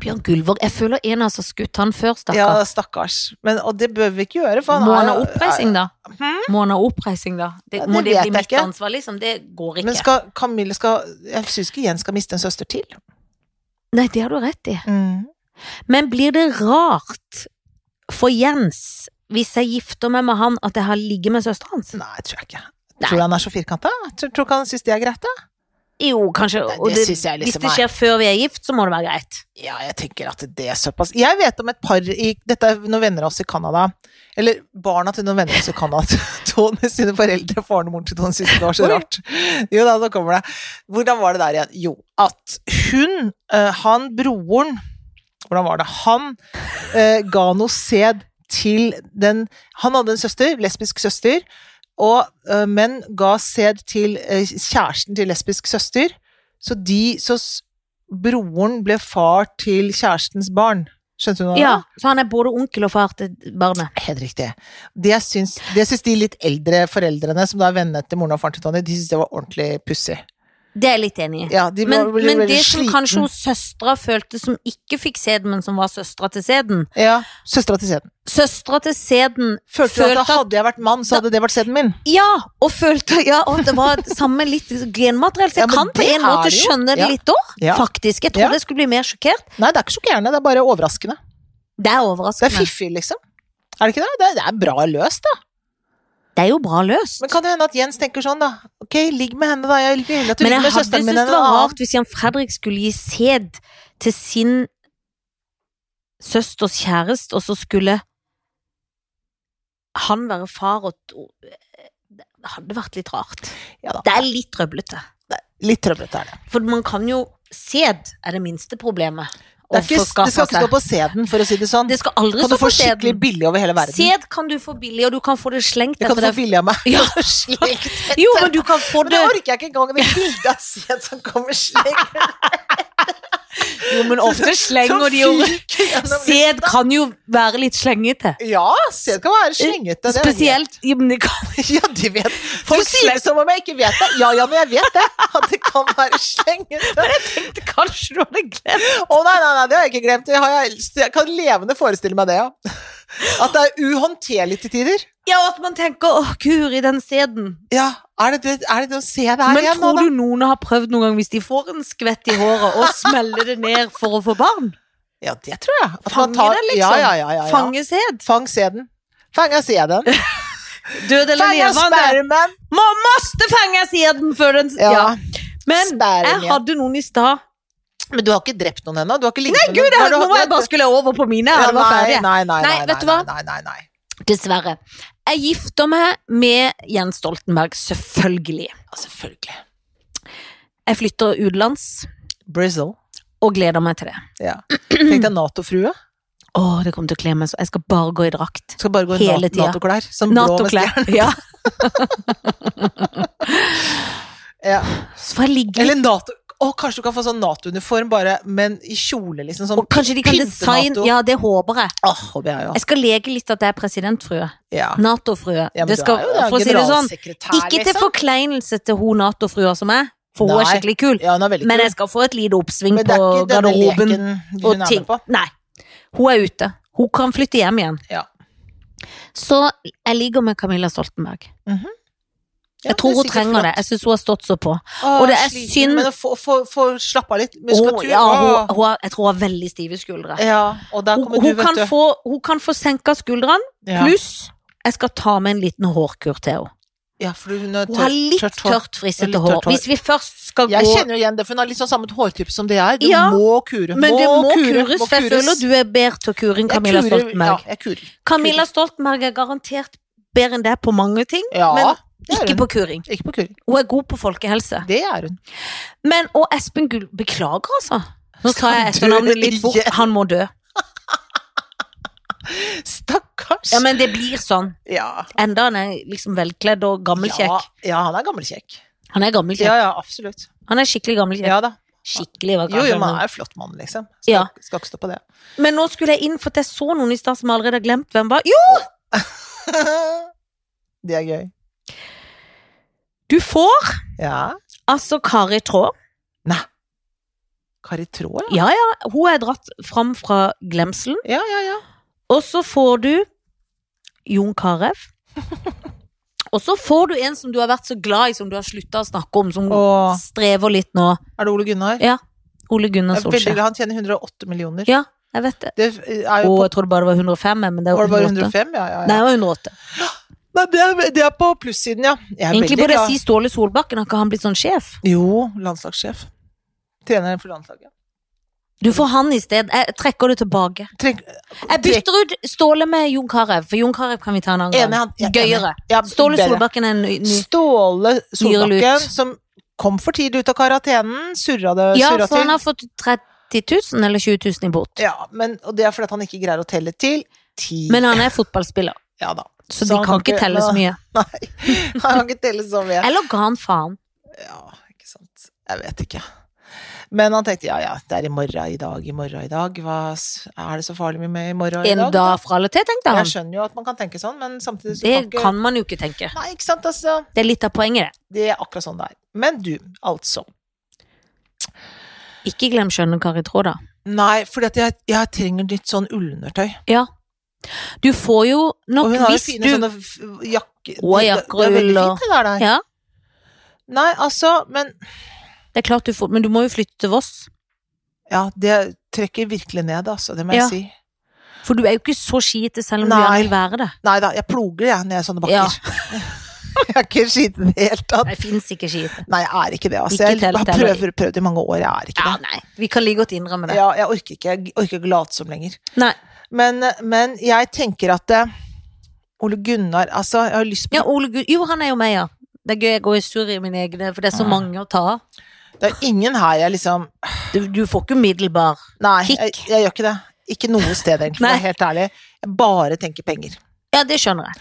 Speaker 1: Bjørn Gullvåg, jeg føler en av oss har skutt han før,
Speaker 2: Ja,
Speaker 1: stakkar.
Speaker 2: stakkars. Men, og det bør vi ikke gjøre, for han
Speaker 1: må
Speaker 2: er
Speaker 1: han ha
Speaker 2: jo-
Speaker 1: oppreising, da? Må han ha oppreising, da? Det,
Speaker 2: Ja,
Speaker 1: må det bli
Speaker 2: det vet jeg
Speaker 1: mitt
Speaker 2: ikke.
Speaker 1: ansvar, liksom? Det går
Speaker 2: Men
Speaker 1: ikke.
Speaker 2: skal Camille skal Jeg syns ikke Jens skal miste en søster til.
Speaker 1: Nei, det har du rett i. Men blir det rart for Jens, hvis jeg gifter meg med han, at jeg har ligget med søsteren hans?
Speaker 2: Nei, tror jeg ikke.
Speaker 1: Nei.
Speaker 2: Tror du han er så firkanta? Tror, tror ikke han syns det er greit, da?
Speaker 1: Jo, kanskje.
Speaker 2: Nei, det
Speaker 1: og
Speaker 2: synes jeg
Speaker 1: hvis
Speaker 2: liksom
Speaker 1: det
Speaker 2: er-
Speaker 1: skjer før vi er gift, så må det være greit.
Speaker 2: Ja, jeg tenker at det er såpass Jeg vet om et par i Dette er noen venner av oss i Canada. Eller barna til noen venner av oss i Canada. Tony sine foreldre, faren og moren til Tony syntes det var så
Speaker 1: Oi.
Speaker 2: rart. Jo da, nå kommer det. Hvordan var det der igjen? Jo, at hun, eh, han broren Hvordan var det? Han eh, ga noe sæd til den Han hadde en søster, lesbisk søster, og eh, menn ga sæd til eh, kjæresten til lesbisk søster, så de Så s- broren ble far til kjærestens barn. Skjønte du hva?
Speaker 1: Ja, Så han er både onkel og far til barnet.
Speaker 2: Helt riktig. Det syns, det syns de litt eldre foreldrene, som da er vennene til moren og faren til Tony, de syns det var ordentlig pussig.
Speaker 1: Det er jeg litt enig i.
Speaker 2: Ja, de
Speaker 1: Men,
Speaker 2: var- ble
Speaker 1: men
Speaker 2: veldig
Speaker 1: det som
Speaker 2: sliten.
Speaker 1: kanskje hos søstera følte som ikke fikk sæd, men som var søstera til sæden
Speaker 2: Ja, søstera til sæden.
Speaker 1: Søstera til sæden
Speaker 2: Følte, du
Speaker 1: Følte
Speaker 2: at hadde jeg vært mann, så hadde det vært sæden min.
Speaker 1: Ja! Og følte ja, og det var samme litt genmateriell. Så
Speaker 2: Ja,
Speaker 1: jeg
Speaker 2: men
Speaker 1: kan på
Speaker 2: det
Speaker 1: en
Speaker 2: er
Speaker 1: måte
Speaker 2: det jo.
Speaker 1: skjønne det
Speaker 2: Ja.
Speaker 1: litt òg,
Speaker 2: Ja.
Speaker 1: faktisk. Jeg trodde
Speaker 2: Ja.
Speaker 1: jeg skulle bli mer sjokkert.
Speaker 2: Nei, det er ikke sjokkerende, det er bare overraskende.
Speaker 1: Det er
Speaker 2: Det er
Speaker 1: overraskende.
Speaker 2: fiffig, liksom. Er det ikke det? Det er, det er bra løst, da.
Speaker 1: Det er jo bra løst.
Speaker 2: Men kan det hende at Jens tenker sånn, da. Ok, ligg med henne, da. Jeg vil heller at du
Speaker 1: Men
Speaker 2: ligger
Speaker 1: jeg hadde
Speaker 2: med søsteren
Speaker 1: syntes
Speaker 2: min
Speaker 1: det
Speaker 2: enn en
Speaker 1: var
Speaker 2: annen.
Speaker 1: rart hvis Jan Fredrik skulle gi sæd til sin søsters kjæreste, og så skulle han være far og Det hadde vært litt rart.
Speaker 2: Ja da.
Speaker 1: Det er litt trøblete.
Speaker 2: Litt trøblete er det.
Speaker 1: For man kan jo Sæd er det minste problemet.
Speaker 2: Det,
Speaker 1: å
Speaker 2: er ikke,
Speaker 1: få
Speaker 2: det skal
Speaker 1: skaffe
Speaker 2: ikke stå på sæden, for å si det sånn.
Speaker 1: seg. Det skal aldri
Speaker 2: kan du
Speaker 1: stå
Speaker 2: få
Speaker 1: på
Speaker 2: skikkelig
Speaker 1: sæden.
Speaker 2: billig over hele verden.
Speaker 1: Sæd kan du få billig, og du kan få det slengt
Speaker 2: det kan du
Speaker 1: etter
Speaker 2: få
Speaker 1: deg.
Speaker 2: billig av meg.
Speaker 1: Ja.
Speaker 2: Slik.
Speaker 1: Jo, men du kan få
Speaker 2: Men
Speaker 1: det
Speaker 2: det orker jeg ikke engang. Det bildet av sæd som kommer slik.
Speaker 1: Jo, men ofte slenger de jo Sæd kan jo være litt slengete.
Speaker 2: Ja, sæd kan være slengete. det vet jeg.
Speaker 1: Spesielt ja, men det kan,
Speaker 2: Ja, de vet.
Speaker 1: Folk
Speaker 2: du sier det som om jeg ikke vet det. Ja, ja, men jeg vet det. At det kan være slengete.
Speaker 1: det Kanskje du hadde glemt
Speaker 2: Å nei, nei, nei, det har jeg ikke glemt. Det har jeg, jeg kan levende forestille meg det, ja. At det er uhåndterlig til tider.
Speaker 1: Ja, og at man tenker 'Å, guri, den sæden'.
Speaker 2: Ja, er det det, er det, det å se det her
Speaker 1: Men
Speaker 2: igjen nå,
Speaker 1: tror
Speaker 2: da?
Speaker 1: du noen har prøvd noen gang hvis de får en skvett i håret, og smeller det ned for å få barn?
Speaker 2: Ja, det tror jeg. At man
Speaker 1: Fange
Speaker 2: tar-
Speaker 1: det, liksom.
Speaker 2: Ja, ja, ja, ja, ja.
Speaker 1: Fange sæd?
Speaker 2: Fang sæden. Fanga sæden.
Speaker 1: Død eller
Speaker 2: Fanga
Speaker 1: levende?
Speaker 2: spermen.
Speaker 1: Må måste fange sæden før den
Speaker 2: Ja.
Speaker 1: ja. Men
Speaker 2: spermen.
Speaker 1: jeg hadde noen i stad
Speaker 2: Men du har ikke drept noen ennå? Du har ikke ligget med
Speaker 1: Gud,
Speaker 2: noen?
Speaker 1: jeg
Speaker 2: Har
Speaker 1: hadde,
Speaker 2: du
Speaker 1: nå
Speaker 2: hatt-
Speaker 1: var jeg bare skulle over på mine.
Speaker 2: Ja,
Speaker 1: Jeg var ferdig.
Speaker 2: Nei, nei, nei.
Speaker 1: Nei,
Speaker 2: nei,
Speaker 1: vet du
Speaker 2: nei,
Speaker 1: hva?
Speaker 2: Nei, nei, nei.
Speaker 1: Dessverre. Jeg gifter meg med Jens Stoltenberg, selvfølgelig.
Speaker 2: Ja, selvfølgelig.
Speaker 1: Jeg flytter utenlands
Speaker 2: Brazil.
Speaker 1: og gleder meg til det.
Speaker 2: Ja. Tenk deg Nato-frue.
Speaker 1: Å, det kommer til å kle meg så Jeg skal bare gå i drakt.
Speaker 2: Skal bare gå i
Speaker 1: Hele
Speaker 2: nat-
Speaker 1: tida.
Speaker 2: Nato-klær. Som blå med stjerne.
Speaker 1: Nato-klær. Ja.
Speaker 2: Ja.
Speaker 1: Så får jeg ligge litt
Speaker 2: Eller Nato Å, kanskje du kan få sånn Nato-uniform, bare, men i kjole, liksom. Sånn
Speaker 1: og kanskje de kan
Speaker 2: pynte
Speaker 1: designe
Speaker 2: NATO.
Speaker 1: Ja, det håper jeg.
Speaker 2: Åh, håper jeg,
Speaker 1: Jeg skal leke litt at jeg er presidentfrue.
Speaker 2: ja. ja.
Speaker 1: Nato-frue.
Speaker 2: Ja, men
Speaker 1: det
Speaker 2: du
Speaker 1: skal,
Speaker 2: er jo da
Speaker 1: for å si det sånn,
Speaker 2: generalsekretær,
Speaker 1: ikke til
Speaker 2: liksom.
Speaker 1: forkleinelse til hun Nato-frua som er, for hun er
Speaker 2: Nei.
Speaker 1: skikkelig kul,
Speaker 2: Ja, hun er veldig
Speaker 1: men
Speaker 2: kul.
Speaker 1: jeg skal få et lite oppsving
Speaker 2: Men det
Speaker 1: på
Speaker 2: er ikke denne
Speaker 1: garderoben.
Speaker 2: leken hun er
Speaker 1: og
Speaker 2: med
Speaker 1: ting.
Speaker 2: på.
Speaker 1: Nei, hun er ute. Hun kan flytte hjem igjen.
Speaker 2: Ja.
Speaker 1: Så jeg ligger med Camilla Stoltenberg.
Speaker 2: Ja,
Speaker 1: Jeg tror
Speaker 2: det er
Speaker 1: hun
Speaker 2: sikkert
Speaker 1: trenger
Speaker 2: flott.
Speaker 1: det. Jeg syns hun har stått så på.
Speaker 2: Åh,
Speaker 1: Og det er
Speaker 2: sliten,
Speaker 1: synd-
Speaker 2: Men å få- få få slappe av litt
Speaker 1: Hun,
Speaker 2: muskulatur.
Speaker 1: ja,
Speaker 2: Åh.
Speaker 1: hun, hun har, jeg tror hun har veldig stive skuldre.
Speaker 2: Ja, og da
Speaker 1: Hun,
Speaker 2: kommer
Speaker 1: hun,
Speaker 2: du, vet
Speaker 1: kan
Speaker 2: du.
Speaker 1: få, hun kan få senka skuldrene,
Speaker 2: Ja.
Speaker 1: pluss jeg skal ta med en liten hårkur til henne.
Speaker 2: Ja, for hun er
Speaker 1: Hun har litt
Speaker 2: tørt hår.
Speaker 1: tørt,
Speaker 2: Ja,
Speaker 1: frissete
Speaker 2: litt
Speaker 1: hår.
Speaker 2: tørt hår.
Speaker 1: Hvis vi først skal gå
Speaker 2: Jeg kjenner jo igjen det, for hun har litt sånn samme hårtype som det jeg. Du
Speaker 1: Ja,
Speaker 2: må kure.
Speaker 1: Men det må
Speaker 2: kure,
Speaker 1: kures,
Speaker 2: må
Speaker 1: for jeg
Speaker 2: kures.
Speaker 1: føler du er bedre til å kure enn
Speaker 2: Jeg
Speaker 1: Camilla
Speaker 2: kurer-
Speaker 1: Stoltenberg.
Speaker 2: Ja, jeg kurer.
Speaker 1: Camilla Stoltenberg er garantert bedre enn deg på mange ting,
Speaker 2: Ja,
Speaker 1: men
Speaker 2: det er
Speaker 1: ikke
Speaker 2: hun.
Speaker 1: på kuring.
Speaker 2: Ikke på kuring.
Speaker 1: Hun er god på folkehelse.
Speaker 2: Det er hun.
Speaker 1: Men, og Espen Gull Beklager, altså. Nå sa jeg
Speaker 2: Skal han
Speaker 1: etternavnet
Speaker 2: dø
Speaker 1: litt fort.
Speaker 2: igjen?
Speaker 1: Han må dø.
Speaker 2: Stakkars.
Speaker 1: Ja, men det blir sånn.
Speaker 2: ja.
Speaker 1: Enda han er liksom velkledd og gammelkjekk.
Speaker 2: Ja, ja, han er gammelkjekk.
Speaker 1: Han er gammelkjekk.
Speaker 2: Ja, ja, absolutt.
Speaker 1: Han er skikkelig gammelkjekk.
Speaker 2: Ja da.
Speaker 1: Skikkelig, var
Speaker 2: Jo,
Speaker 1: kanskje
Speaker 2: jo, man
Speaker 1: han.
Speaker 2: er jo flott mann, liksom. Skal,
Speaker 1: Ja.
Speaker 2: skal ikke stå på det.
Speaker 1: Men nå skulle jeg inn, for at jeg så noen i stad som jeg allerede har glemt hvem var. Jo,
Speaker 2: det er gøy.
Speaker 1: du får
Speaker 2: Ja.
Speaker 1: altså Kari Traa.
Speaker 2: Nei. Kari Traa, ja.
Speaker 1: Ja, ja, hun er dratt fram fra glemselen.
Speaker 2: Ja, ja, ja.
Speaker 1: Og så får du Jon Carew. Og så får du en som du har vært så glad i, som du har slutta å snakke om, som
Speaker 2: Åh.
Speaker 1: strever litt nå.
Speaker 2: Er det Ole Gunnar?
Speaker 1: Ja, Ole Gunnar
Speaker 2: Jeg er veldig
Speaker 1: Solskjær.
Speaker 2: glad. Han tjener 108 millioner.
Speaker 1: Ja, jeg vet det.
Speaker 2: Det er jo
Speaker 1: Og
Speaker 2: på
Speaker 1: jeg tror det bare var 105, men det
Speaker 2: Var
Speaker 1: er
Speaker 2: det bare
Speaker 1: 108.
Speaker 2: 105? Ja,
Speaker 1: Nei,
Speaker 2: ja, ja.
Speaker 1: det var 108.
Speaker 2: Nei, det er, det er på plussiden, ja. Jeg er
Speaker 1: Egentlig
Speaker 2: veldig
Speaker 1: burde
Speaker 2: glad.
Speaker 1: jeg si Ståle Solbakken, har ikke han blitt sånn sjef?
Speaker 2: Jo, landslagssjef. Treneren for landslaget.
Speaker 1: Du får han i sted. Jeg trekker det tilbake.
Speaker 2: Treng,
Speaker 1: Jeg bytter ut Ståle med Jon Carew, for Jon Carew kan vi ta en annen
Speaker 2: Enig,
Speaker 1: gang.
Speaker 2: han- ja, enig.
Speaker 1: Gøyere.
Speaker 2: ja,
Speaker 1: Ståle
Speaker 2: bedre.
Speaker 1: Solbakken er en ny. ny-
Speaker 2: Ståle Solbakken,
Speaker 1: Nyrelut.
Speaker 2: som kom for tidlig ut av karantenen, surra det
Speaker 1: Ja,
Speaker 2: surra
Speaker 1: for han
Speaker 2: til.
Speaker 1: har fått 30 000 eller 20 000 i bot.
Speaker 2: Ja, men, og det er fordi at han ikke greier å telle til ti.
Speaker 1: Men han er fotballspiller,
Speaker 2: ja da.
Speaker 1: så,
Speaker 2: Så
Speaker 1: de
Speaker 2: han
Speaker 1: kan
Speaker 2: kan
Speaker 1: ikke
Speaker 2: ikke-
Speaker 1: telle så mye.
Speaker 2: Han kan ikke telle så mye.
Speaker 1: Eller ga han faen?
Speaker 2: Ja, ikke sant. Jeg vet ikke. Men han tenkte ja ja, det er i morgen i dag, i morgen i dag. Hva s- er det så farlig med i morgen i
Speaker 1: En
Speaker 2: dag?
Speaker 1: dag fra eller til, tenkte
Speaker 2: Jeg
Speaker 1: han.
Speaker 2: skjønner jo at man kan tenke sånn, men samtidig så
Speaker 1: Det
Speaker 2: ikke-
Speaker 1: kan man jo ikke tenke.
Speaker 2: Nei, ikke sant, altså.
Speaker 1: Det er litt av poenget, det.
Speaker 2: Det er akkurat sånn det er. Men du, altså.
Speaker 1: Ikke glem skjønne Kari Traa, da.
Speaker 2: Nei, for jeg, jeg trenger litt sånn ullundertøy.
Speaker 1: Ja. Du får jo
Speaker 2: Og
Speaker 1: nok
Speaker 2: hun har jo
Speaker 1: hvis
Speaker 2: fine
Speaker 1: du
Speaker 2: sånne f- jakker
Speaker 1: Og
Speaker 2: Det-
Speaker 1: jakker
Speaker 2: Det
Speaker 1: og
Speaker 2: er veldig
Speaker 1: ull og-
Speaker 2: fint det der. der.
Speaker 1: Ja,
Speaker 2: Nei, altså, men
Speaker 1: det er klart du får Men du må jo flytte til Voss.
Speaker 2: Ja, det trekker virkelig ned, altså. Det må
Speaker 1: Ja.
Speaker 2: jeg si.
Speaker 1: For du er jo ikke så skiete, selv om du
Speaker 2: Nei.
Speaker 1: gjerne vil være det.
Speaker 2: Nei da, jeg ploger jeg når jeg er sånne bakker.
Speaker 1: Ja.
Speaker 2: jeg er ikke skitten i det hele tatt.
Speaker 1: Det fins ikke skiete.
Speaker 2: Nei, jeg er ikke det. Altså.
Speaker 1: Ikke
Speaker 2: Jeg
Speaker 1: telt
Speaker 2: har
Speaker 1: heller.
Speaker 2: prøvd, prøvd i mange år, jeg er ikke
Speaker 1: Ja,
Speaker 2: det.
Speaker 1: nei. Vi kan like godt innrømme det.
Speaker 2: Ja, jeg orker ikke jeg orker ikke å late som lenger.
Speaker 1: Nei.
Speaker 2: Men, men jeg tenker at eh, Ole Gunnar, altså, jeg har lyst på
Speaker 1: Ja, Ole Gud Jo, han er jo meg, ja. Det er gøy jeg går i surr i mine egne, for det er så
Speaker 2: Mm.
Speaker 1: mange å ta av.
Speaker 2: Det er ingen her jeg liksom
Speaker 1: Du, du får ikke umiddelbar
Speaker 2: Nei,
Speaker 1: Kick.
Speaker 2: jeg, jeg gjør ikke det. Ikke noe sted, egentlig, for å
Speaker 1: Nei.
Speaker 2: være helt ærlig. Jeg bare tenker penger.
Speaker 1: Ja, det skjønner jeg.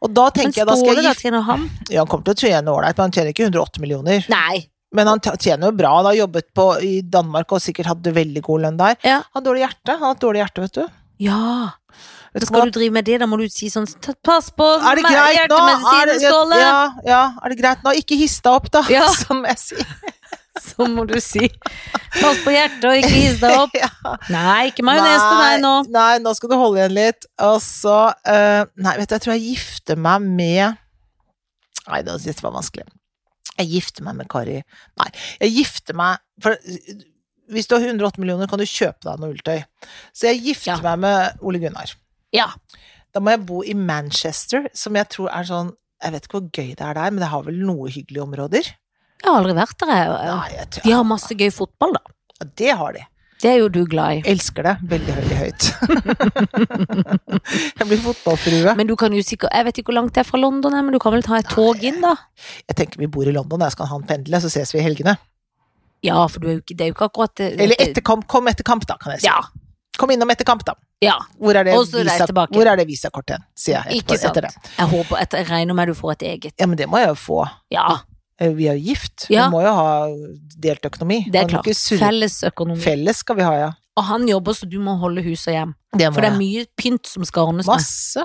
Speaker 2: Og da
Speaker 1: Men
Speaker 2: tenker jeg da skal
Speaker 1: Ståle,
Speaker 2: jeg
Speaker 1: da,
Speaker 2: gifte
Speaker 1: Trine Ham?
Speaker 2: ja, Han kommer til å tjene ålreit, men han tjener ikke 108 millioner.
Speaker 1: Nei.
Speaker 2: Men han t- tjener jo bra. Han har jobbet på, i Danmark og sikkert hatt veldig god lønn der.
Speaker 1: Ja.
Speaker 2: Han har dårlig hjerte. Han har hatt dårlig hjerte, vet du.
Speaker 1: Ja.
Speaker 2: Vet du
Speaker 1: Skal
Speaker 2: hva?
Speaker 1: du drive med det, da må du si sånn "Ta- Pass på
Speaker 2: Er det greit nå? Er det,
Speaker 1: hjertemedisinen, Ståle!
Speaker 2: ja, ja, er det greit nå? Ikke hiss deg opp, da,
Speaker 1: Ja.
Speaker 2: som jeg sier.
Speaker 1: Så må du si pass på hjertet og ikke hiss deg opp.
Speaker 2: Ja.
Speaker 1: Nei, ikke majones til meg nå.
Speaker 2: Nei, nå skal du holde igjen litt. Og så eh, Nei, vet du, jeg tror jeg gifter meg med Nei, det- dette var vanskelig. Jeg gifter meg med Kari Nei, jeg gifter meg For eh, hvis du har 108 millioner, kan du kjøpe deg noe ulltøy. Så jeg gifter
Speaker 1: Ja.
Speaker 2: meg med Ole Gunnar.
Speaker 1: Ja.
Speaker 2: Da må jeg bo i Manchester, som jeg tror er sånn Jeg vet ikke hvor gøy det er der, men det har vel noe hyggelige områder?
Speaker 1: Jeg har aldri vært der, jeg.
Speaker 2: Nei, jeg tror,
Speaker 1: De har masse gøy fotball, da.
Speaker 2: ja, det har de.
Speaker 1: Det er jo du glad i.
Speaker 2: Elsker det veldig, veldig høyt. jeg blir fotballfrue.
Speaker 1: Men du kan jo sikkert Jeg vet ikke hvor langt det er fra London, her, men du kan vel ta et tog inn, da?
Speaker 2: Jeg tenker vi bor i London, jeg skal ha en pendle, så ses vi i helgene.
Speaker 1: Ja, for du er jo ikke, det er jo ikke akkurat eh, det,
Speaker 2: Eller etter kamp, kom etter kamp, da, kan jeg si.
Speaker 1: Ja.
Speaker 2: Kom innom etter kamp, da.
Speaker 1: ja.
Speaker 2: Hvor er det,
Speaker 1: Og så reis
Speaker 2: visa-
Speaker 1: tilbake.
Speaker 2: hvor er det visakortet hen, sier jeg etterpå,
Speaker 1: Ikke sant.
Speaker 2: etter det.
Speaker 1: Jeg håper at jeg regner med du får et eget.
Speaker 2: Ja, men det må jeg jo få.
Speaker 1: Ja,
Speaker 2: Eh, Vi er jo gift,
Speaker 1: Ja.
Speaker 2: vi må jo ha delt økonomi.
Speaker 1: det er
Speaker 2: Man må
Speaker 1: klart.
Speaker 2: ikke surre-
Speaker 1: Fellesøkonomi.
Speaker 2: Felles skal vi ha, ja.
Speaker 1: Og han jobber, så du må holde hus og hjem.
Speaker 2: Det
Speaker 1: For det er mye pynt som skal ordnes med.
Speaker 2: Masse.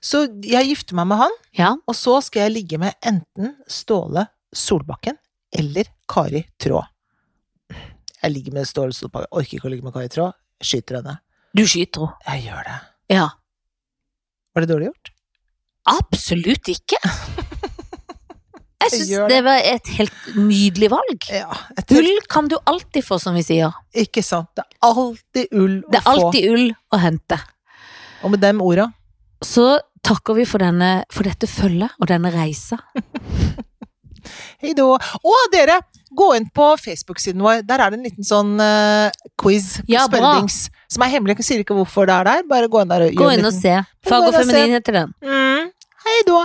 Speaker 2: Så jeg gifter meg med han,
Speaker 1: Ja.
Speaker 2: og så skal jeg ligge med enten Ståle Solbakken eller Kari Traa. Jeg ligger med Ståle Solbakken, orker ikke å ligge med Kari Traa, skyter henne.
Speaker 1: Du skyter henne.
Speaker 2: Jeg gjør det.
Speaker 1: Ja.
Speaker 2: Var det dårlig gjort?
Speaker 1: Absolutt ikke. Jeg syns
Speaker 2: gjør
Speaker 1: det var et helt nydelig valg.
Speaker 2: Ja, jeg tenker,
Speaker 1: Ull kan du alltid få, som vi sier.
Speaker 2: ikke sant. Det er alltid ull å
Speaker 1: Det er alltid ull å hente.
Speaker 2: få. Og med dem orda.
Speaker 1: Så takker vi for, denne, for dette følget og denne reisa.
Speaker 2: Hei då. Og dere, gå inn på Facebook-siden vår. Der er det en liten sånn eh, quiz.
Speaker 1: Ja, bra.
Speaker 2: spørredings, Som er hemmelig. Jeg sier ikke hvorfor det er der. Bare gå inn der og
Speaker 1: Gå
Speaker 2: gjør en
Speaker 1: inn og
Speaker 2: liten-
Speaker 1: se. Fag
Speaker 2: Gå
Speaker 1: og
Speaker 2: inn og se.
Speaker 1: feminin heter den.
Speaker 2: Mm. Hei då.